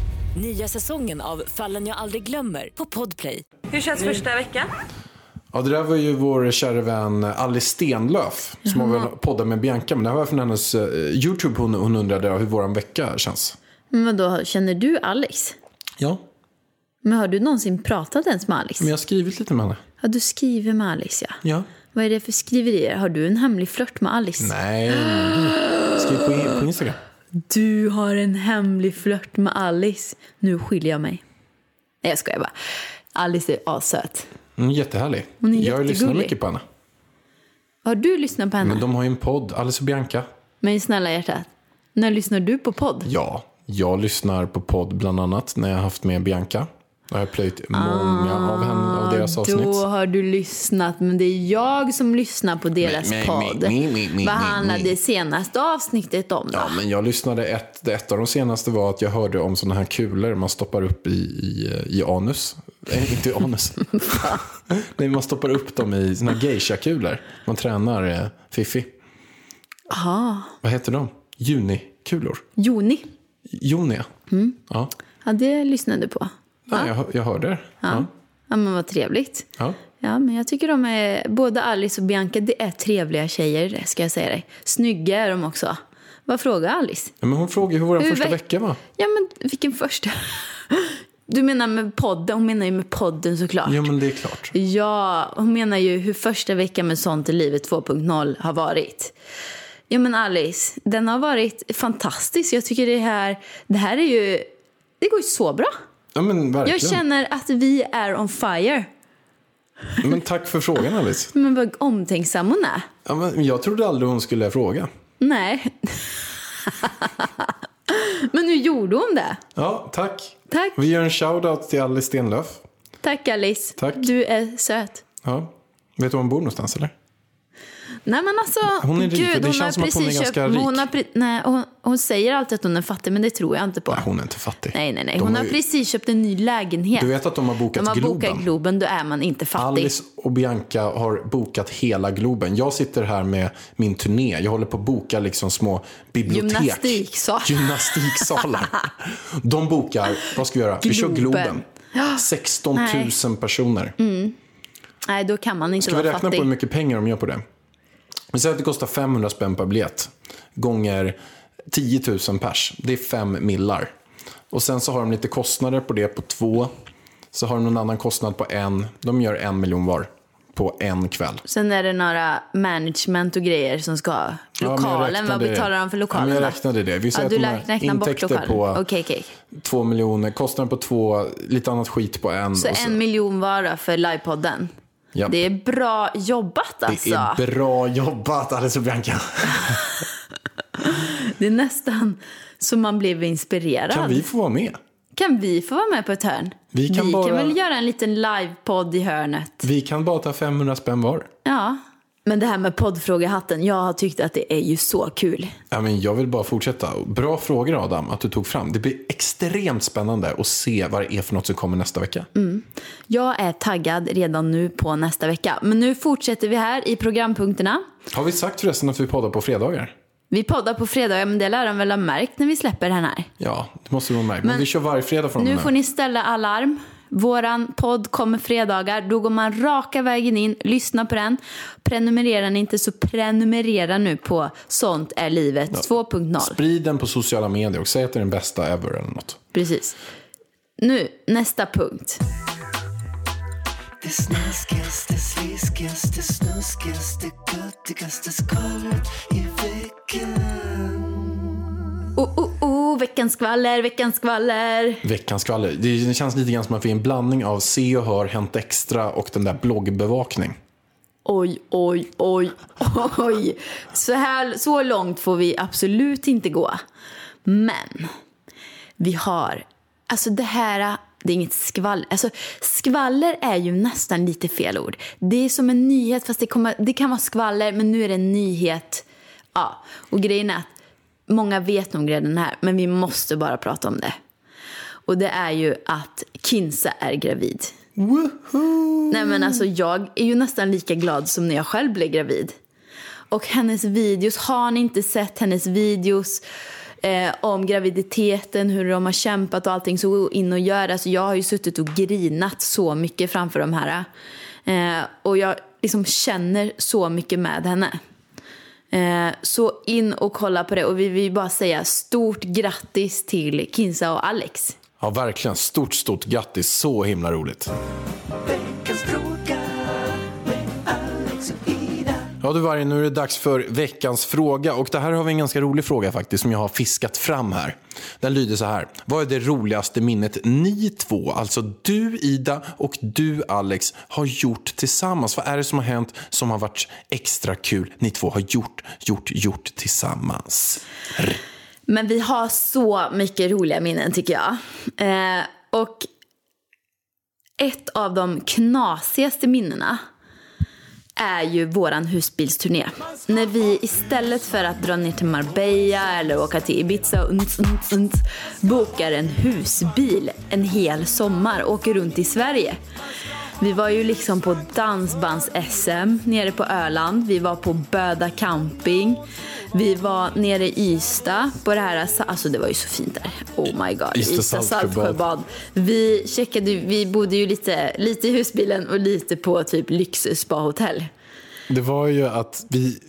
Speaker 10: Nya säsongen av Fallen jag aldrig glömmer på Podplay.
Speaker 1: Hur känns första veckan?
Speaker 2: Ja, det där var ju vår kära vän Alice Stenlöf som har väl poddat med Bianca. Men det här var från hennes eh, YouTube. Hon, hon undrade hur våran vecka känns.
Speaker 3: Men vadå, känner du Alex?
Speaker 2: Ja,
Speaker 3: Men har du någonsin pratat ens med Alex?
Speaker 2: men jag har skrivit lite med henne.
Speaker 3: Ja, du skriver med Alex ja.
Speaker 2: Ja.
Speaker 3: Vad är det för skriverier? Har du en hemlig flört med Alice?
Speaker 2: Nej, skriv på, in- på Instagram.
Speaker 3: Du har en hemlig flört med Alice. Nu skiljer jag mig. Nej, jag skojar bara. Alice är assöt.
Speaker 2: Hon är Mm, jättehärlig.
Speaker 3: Hon är
Speaker 2: jag lyssnar
Speaker 3: jättegullig.
Speaker 2: mycket på henne.
Speaker 3: Har du lyssnat på henne?
Speaker 2: Men
Speaker 3: Men,
Speaker 2: de har ju en podd, Alice och Bianca.
Speaker 3: snälla hjärtat, när lyssnar du på podd?
Speaker 2: Ja, jag lyssnar på podd bland annat när jag har haft med Bianca. Jag har plöjt många av, henne, av deras
Speaker 3: Ah,
Speaker 2: avsnitt.
Speaker 3: Då har du lyssnat, men det är jag som lyssnar på deras
Speaker 2: Men, men,
Speaker 3: podd.
Speaker 2: men, men, men, men,
Speaker 3: Vad handlade
Speaker 2: men.
Speaker 3: det senaste avsnittet om då?
Speaker 2: Ja, men jag lyssnade, ett, det- ett av de senaste var att jag hörde om sådana här kulor man stoppar upp i, i, i anus. Nej, inte i anus. Nej, man stoppar upp dem i sådana här geisha-kulor. Man tränar eh, fiffi.
Speaker 3: Aha.
Speaker 2: Vad heter de? Junikulor?
Speaker 3: Joni.
Speaker 2: Jonia?
Speaker 3: Mm.
Speaker 2: Ja,
Speaker 3: Ja, det lyssnade du på.
Speaker 2: ja jag, hör- jag hörde det.
Speaker 3: Ja.
Speaker 2: Ja.
Speaker 3: Ja, men vad trevligt.
Speaker 2: Ja.
Speaker 3: Ja, men jag tycker de är, både Alice och Bianca, det är trevliga tjejer, ska jag säga dig. Snygga är de också. Vad frågar Alice?
Speaker 2: Ja, men hon frågade hur vår
Speaker 3: Hur
Speaker 2: första
Speaker 3: veck-
Speaker 2: vecka var.
Speaker 3: Ja, men vilken första? Du menar med podden, hon menar ju med podden såklart.
Speaker 2: Ja, men det är klart.
Speaker 3: Ja, hon menar ju hur första veckan med Sånt i livet 2.0 har varit. Ja men Alice, den har varit fantastisk. Jag tycker det här, det här är ju, det går ju så bra.
Speaker 2: Ja, men verkligen.
Speaker 3: Jag känner att vi är on fire.
Speaker 2: Men tack för frågan, Alice.
Speaker 3: Men vad omtänksam hon är.
Speaker 2: Ja, men jag trodde aldrig hon skulle fråga.
Speaker 3: Nej. men nu gjorde hon det.
Speaker 2: Ja, tack.
Speaker 3: Tack.
Speaker 2: Vi gör en shout-out till Alice Stenlöf.
Speaker 3: Tack Alice.
Speaker 2: Tack.
Speaker 3: Du är söt.
Speaker 2: Ja. Vet du var hon bor någonstans eller?
Speaker 3: Nej men alltså,
Speaker 2: Hon är rik,
Speaker 3: gud,
Speaker 2: och det
Speaker 3: hon
Speaker 2: känns som
Speaker 3: har
Speaker 2: att hon är
Speaker 3: precis
Speaker 2: ganska
Speaker 3: köpt,
Speaker 2: rik.
Speaker 3: Hon, har, pre- nej, hon, hon säger alltid att hon är fattig, men det tror jag inte på.
Speaker 2: Hon är inte fattig.
Speaker 3: Nej, nej, nej.
Speaker 2: De
Speaker 3: Hon
Speaker 2: har
Speaker 3: har
Speaker 2: ju-
Speaker 3: precis köpt en ny lägenhet.
Speaker 2: Du vet att de har bokat
Speaker 3: När man
Speaker 2: Globen?
Speaker 3: bokar Globen, då är man inte fattig.
Speaker 2: Alice och Bianca har bokat hela Globen. Jag sitter här med min turné. Jag håller på att boka liksom små bibliotek.
Speaker 3: Gymnastiksal.
Speaker 2: Gymnastiksalar. De bokar, vad ska vi göra? Vi kör
Speaker 3: Globen.
Speaker 2: Globen. 16 000 personer.
Speaker 3: Mm. Nej, då kan man inte
Speaker 2: Ska vi
Speaker 3: vara
Speaker 2: räkna
Speaker 3: fattig.
Speaker 2: på hur mycket pengar de gör på det? Vi säger att det kostar 500 spänn per biljett. Gånger 10 000 pers. Det är fem millar. Och sen så har de lite kostnader på det på två. Så har de någon annan kostnad på en. De gör en miljon var. På en kväll.
Speaker 3: Sen är det några management och grejer som ska ha
Speaker 2: men jag
Speaker 3: lokalen.
Speaker 2: räknade
Speaker 3: Vad betalar
Speaker 2: det.
Speaker 3: de för
Speaker 2: Ja,
Speaker 3: lokalen?
Speaker 2: men jag räknade det. Vi säger
Speaker 3: du
Speaker 2: att de har
Speaker 3: räknar bort
Speaker 2: intäkter
Speaker 3: lokalen.
Speaker 2: på
Speaker 3: Okej, okej.
Speaker 2: två miljoner. Kostnader på två. Lite annat skit på en.
Speaker 3: Så
Speaker 2: och
Speaker 3: en miljon var då för livepodden.
Speaker 2: Ja.
Speaker 3: Det är bra jobbat alltså.
Speaker 2: det är bra jobbat Alice och Bianca.
Speaker 3: Det är nästan så man blev inspirerad.
Speaker 2: Kan vi få vara med?
Speaker 3: Kan vi få vara med på ett hörn?
Speaker 2: Vi kan bara-
Speaker 3: väl göra en liten livepodd i hörnet.
Speaker 2: Vi kan bara ta 500 spänn var.
Speaker 3: Ja. Men det här med poddfrågehatten, jag har tyckt att det är ju så kul.
Speaker 2: Ja, men jag vill bara fortsätta. Bra frågor Adam, att du tog fram. Det blir extremt spännande att se vad det är för något som kommer nästa vecka.
Speaker 3: Mm. Jag är taggad redan nu på nästa vecka. Men nu fortsätter vi här i programpunkterna.
Speaker 2: Har vi sagt förresten att vi poddar på fredagar?
Speaker 3: Vi poddar på fredagar, men det lär de väl ha märkt när vi släpper den här.
Speaker 2: Ja, det måste vara märkt. Men,
Speaker 3: Men
Speaker 2: vi kör varje fredag från och
Speaker 3: Nu
Speaker 2: med.
Speaker 3: får ni ställa alarm. Våran podd kommer fredagar. Då går man raka vägen in, lyssna på den. Prenumererar ni inte så prenumerera nu på Sånt är livet 2.0.
Speaker 2: Sprid den på sociala medier och säg att det är den bästa ever eller något.
Speaker 3: Precis. Nu, nästa punkt.
Speaker 1: Det snaskas, det sliskas, det snuskas, det guttigas, det skvallret i veckan.
Speaker 3: Oh, oh, oh, veckans skvaller, veckans skvaller.
Speaker 2: Veckans skvaller. Det det känns lite grann som att vi är en blandning av Se och Hör, Hänt Extra och den där bloggbevakning.
Speaker 3: Oj, oj, oj, oj. Så, här, så långt får vi absolut inte gå. Men vi har, alltså det här, det är inget skvaller. Alltså skvaller är ju nästan lite fel ord. Det är som en nyhet fast det, kommer, det kan vara skvaller men nu är det en nyhet. Ja, och grejen är att många vet nog redan det här men vi måste bara prata om det. Och det är ju att Kinsa är gravid. Nej men alltså jag är ju nästan lika glad som när jag själv blev gravid. Och hennes videos, har ni inte sett hennes videos eh, om graviditeten, hur de har kämpat och allting så gå in och gör det. Alltså jag har ju suttit och grinat så mycket framför de här. Eh, och jag liksom känner så mycket med henne. Eh, så in och kolla på det och vi vill bara säga stort grattis till Kinsa och Alex.
Speaker 2: Ja, verkligen. Stort, stort grattis. Så himla roligt.
Speaker 1: Veckans fråga med Alex och Ida.
Speaker 2: Ja du Vargen, nu är det dags för veckans fråga. Och det här har vi en ganska rolig fråga faktiskt som jag har fiskat fram här. Den lyder så här. Vad är det roligaste minnet ni två, alltså du Ida och du Alex, har gjort tillsammans? Vad är det som har hänt som har varit extra kul ni två har gjort, gjort, gjort tillsammans?
Speaker 3: Men vi har så mycket roliga minnen tycker jag. Eh, och ett av de knasigaste minnena är ju våran husbilsturné. När vi istället för att dra ner till Marbella eller åka till Ibiza och unts, unts, unts, bokar en husbil en hel sommar och åker runt i Sverige. Vi var ju liksom på dansbands-SM nere på Öland. Vi var på Böda camping. Vi var nere i Ystad på det här, alltså det var ju så fint där. Oh my god.
Speaker 2: Ystad Saltsjöbad.
Speaker 3: Bad. Vi checkade, vi bodde ju lite, lite i husbilen och lite på typ lyxspahotell.
Speaker 2: Det var ju att vi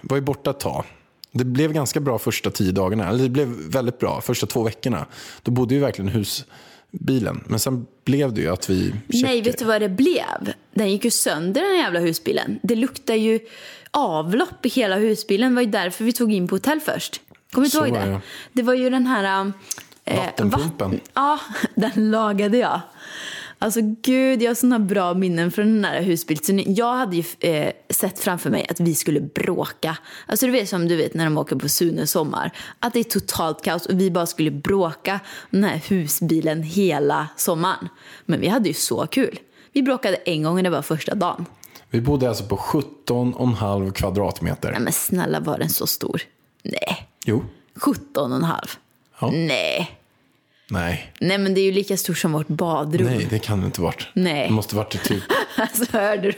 Speaker 2: var ju borta ett tag. Det blev ganska bra första tio dagarna. Eller det blev väldigt bra första två veckorna. Då bodde ju verkligen husbilen. Men sen blev det ju att vi...
Speaker 3: Nej, vet du vad det blev? Den gick ju sönder den jävla husbilen. Det luktar ju avlopp i hela husbilen. Det var ju därför vi tog in på hotell först. Kommer du inte
Speaker 2: Så
Speaker 3: ihåg
Speaker 2: var
Speaker 3: det?
Speaker 2: det.
Speaker 3: Det var ju den här... eh,
Speaker 2: Vattenpumpen.
Speaker 3: vatten- ja, den lagade jag. Alltså gud, jag har såna bra minnen från den här husbilsturnén. Jag hade ju eh, sett framför mig att vi skulle bråka. Alltså du vet som du vet när de åker på Sunes sommar. Att det är totalt kaos och vi bara skulle bråka om den här husbilen hela sommaren. Men vi hade ju så kul. Vi bråkade en gång och det var första dagen.
Speaker 2: Vi bodde alltså på 17,5 kvadratmeter.
Speaker 3: Nej men snälla var den så stor? Nej,
Speaker 2: Jo.
Speaker 3: 17 och en halv.
Speaker 2: Ja.
Speaker 3: Nej.
Speaker 2: Nej.
Speaker 3: Nej men det är ju lika stort som vårt badrum.
Speaker 2: Nej, det kan det inte varit.
Speaker 3: Nej.
Speaker 2: Det måste varit typ...
Speaker 3: Alltså hörde du?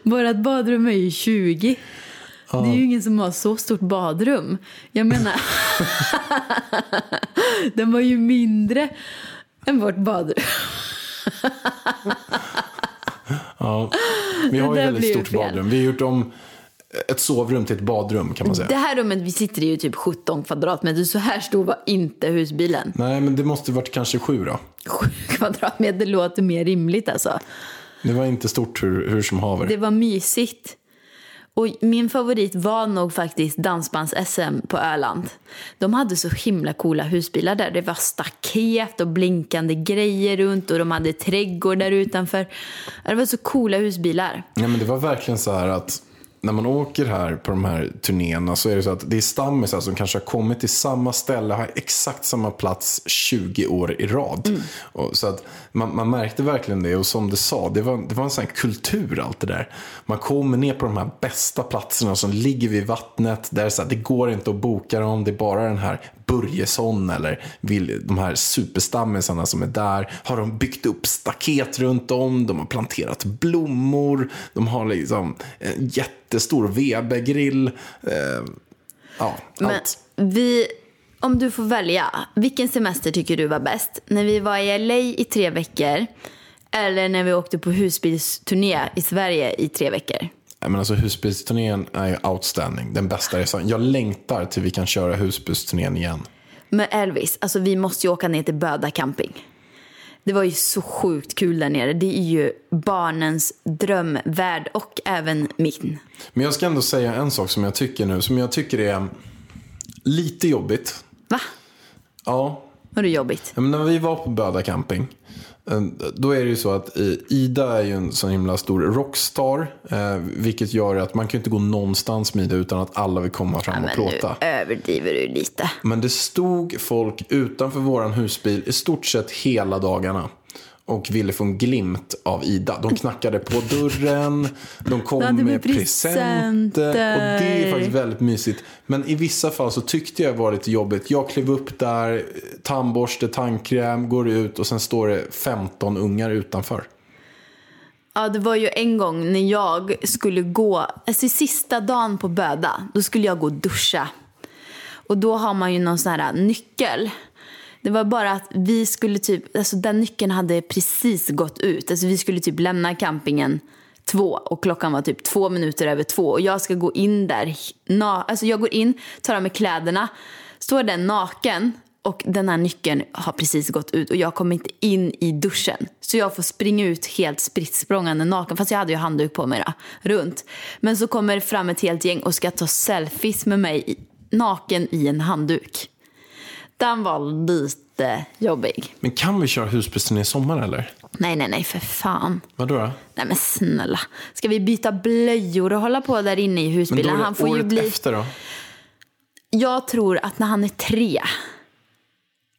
Speaker 3: Vårt badrum är ju 20. Det är ju ingen som har så stort badrum. Jag menar, den var ju mindre än vårt badrum.
Speaker 2: Ja. Vi har
Speaker 3: Det
Speaker 2: ju
Speaker 3: där
Speaker 2: väldigt
Speaker 3: blir ju
Speaker 2: stort
Speaker 3: fel.
Speaker 2: badrum. Vi har gjort om ett sovrum till ett badrum kan man säga.
Speaker 3: Det här rummet vi sitter i är ju typ 17 kvadratmeter. Så här stor var inte husbilen.
Speaker 2: Nej, men det måste varit kanske sju då.
Speaker 3: 7 kvadratmeter låter mer rimligt alltså.
Speaker 2: Det var inte stort hur, hur som haver.
Speaker 3: Det var mysigt. Och min favorit var nog faktiskt dansbands-SM på Öland. De hade så himla coola husbilar där. Det var staket och blinkande grejer runt och de hade trädgård där utanför. Det var så coola husbilar.
Speaker 2: Ja, men det var verkligen så här att när man åker här på de här turnéerna så är det så att det är stammisar som kanske har kommit till samma ställe, har exakt samma plats 20 år i rad. Och så att man, man märkte verkligen det och som du sa, det var, det var en sån här kultur allt det där. Man kommer ner på de här bästa platserna som ligger vid vattnet. Där det, är så här, det går inte att boka dem, det är bara den här Börjesson eller vill, de här superstammisarna som är där. Har de byggt upp staket runt om, de har planterat blommor, de har liksom en jättestor Webergrill. Eh, ja,
Speaker 3: Men
Speaker 2: allt.
Speaker 3: vi, om du får välja, vilken semester tycker du var bäst? När vi var i LA i tre veckor eller när vi åkte på husbilsturné i Sverige i tre veckor?
Speaker 2: Nej, Men alltså husbilsturnén är ju outstanding, den bästa resan. Jag längtar till vi kan köra husbilsturnén igen.
Speaker 3: Men Elvis, alltså vi måste ju åka ner till Böda camping. Det var ju så sjukt kul där nere. Det är ju barnens drömvärld och även min.
Speaker 2: Men jag ska ändå säga en sak som jag tycker nu, som jag tycker är lite jobbigt.
Speaker 3: Va?
Speaker 2: Ja,
Speaker 3: Var det jobbigt?
Speaker 2: Ja, men när vi var på Böda camping. eh, Då är det ju så att eh, Ida är ju en sån himla stor rockstar. eh, Vilket gör att man kan ju inte gå någonstans med Ida utan att alla vill komma fram och
Speaker 3: Men nu
Speaker 2: plåta.
Speaker 3: överdriver du lite.
Speaker 2: Men det stod folk utanför våran husbil i stort sett hela dagarna. Och ville få en glimt av Ida. De knackade på dörren, de
Speaker 3: Då
Speaker 2: kom
Speaker 3: hade vi
Speaker 2: med presenter. Och det är faktiskt väldigt mysigt. Men i vissa fall så tyckte jag det var lite jobbigt. Jag klev upp där, tandborste, tandkräm, går ut och sen står det 15 ungar utanför.
Speaker 3: Ja, det var ju en gång när jag skulle gå, alltså sista dagen på Böda, då skulle jag gå och duscha. Och då har man ju någon sån här nyckel. Det var bara att vi skulle typ, alltså den nyckeln hade precis gått ut. Alltså vi skulle typ lämna campingen två och klockan var typ två minuter över två och jag ska gå in där, na, alltså jag går in, tar av mig kläderna, står där naken och den här nyckeln har precis gått ut och jag kommer inte in i duschen. Så jag får springa ut helt spritt språngande naken, fast jag hade ju handduk på mig då, runt. Men så kommer fram ett helt gäng och ska ta selfies med mig i- naken i en handduk. Den var lite jobbig.
Speaker 2: Men kan vi köra husbilsturné i sommar eller?
Speaker 3: Nej, nej, nej, för fan.
Speaker 2: Vadå då?
Speaker 3: Nej men snälla, ska vi byta blöjor och hålla på där inne i
Speaker 2: Men då
Speaker 3: husbilen?
Speaker 2: är det
Speaker 3: Han får ju
Speaker 2: året
Speaker 3: bli...
Speaker 2: efter då?
Speaker 3: Jag tror att när han är tre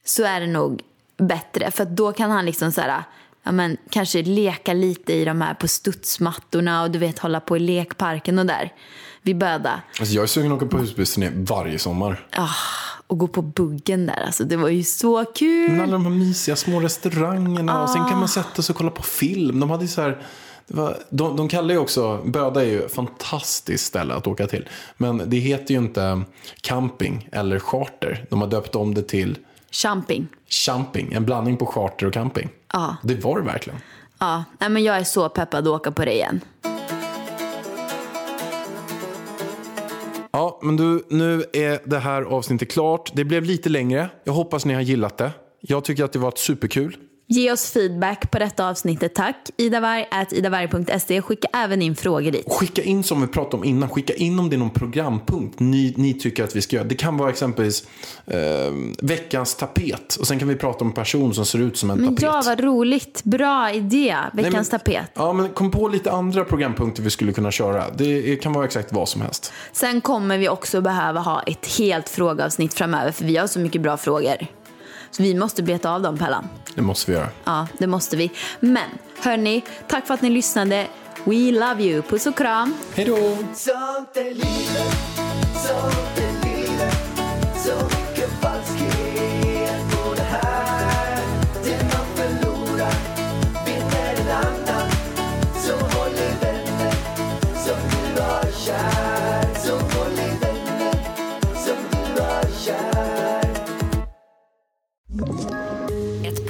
Speaker 3: så är det nog bättre. För att då kan han liksom så här, ja, men, kanske leka lite i de här på studsmattorna och du vet hålla på i lekparken och där vid Böda.
Speaker 2: Alltså jag är sugen att åka på husbilsturné varje sommar.
Speaker 3: Ah, och gå på buggen där, alltså det var ju så kul.
Speaker 2: Men alla de här mysiga små restaurangerna och sen kan man sätta sig och kolla på film. De hade ju så här, det var, de, de kallar ju också, Böda är ju ett fantastiskt ställe att åka till. Men det heter ju inte camping eller charter. De har döpt om det till
Speaker 3: Champing.
Speaker 2: champing, en blandning på charter och camping.
Speaker 3: Ja.
Speaker 2: Det var det verkligen.
Speaker 3: Ja, nej men jag är så peppad att åka på det igen.
Speaker 2: Ja, men du, nu är det här avsnittet klart. Det blev lite längre. Jag hoppas ni har gillat det. Jag tycker att det var ett superkul.
Speaker 3: Ge oss feedback på detta avsnittet tack. idavarg.idavarg.se. Skicka även in frågor dit.
Speaker 2: Skicka in som vi pratade om innan, skicka in om det är någon programpunkt ni, ni tycker att vi ska göra. Det kan vara exempelvis eh, veckans tapet och sen kan vi prata om en person som ser ut som en
Speaker 3: Men
Speaker 2: tapet.
Speaker 3: ja, vad roligt. Bra idé.
Speaker 2: Nej, men-
Speaker 3: Veckans tapet.
Speaker 2: Ja, men kom på lite andra programpunkter vi skulle kunna köra. Det kan vara exakt vad som helst.
Speaker 3: Sen kommer vi också behöva ha ett helt frågeavsnitt framöver för vi har så mycket bra frågor. Så vi måste beta av dem, Pellan.
Speaker 2: Det måste vi göra.
Speaker 3: Ja, det måste vi. Men hörni, tack för att ni lyssnade. We love you. Puss och kram.
Speaker 2: Hej då!
Speaker 1: Sånt är livet, sånt är livet Så mycket falskhet på det här Det man förlorar vinner en annan Så håll i vänner som du har kär Så håll i vänner som du har kär
Speaker 10: Ett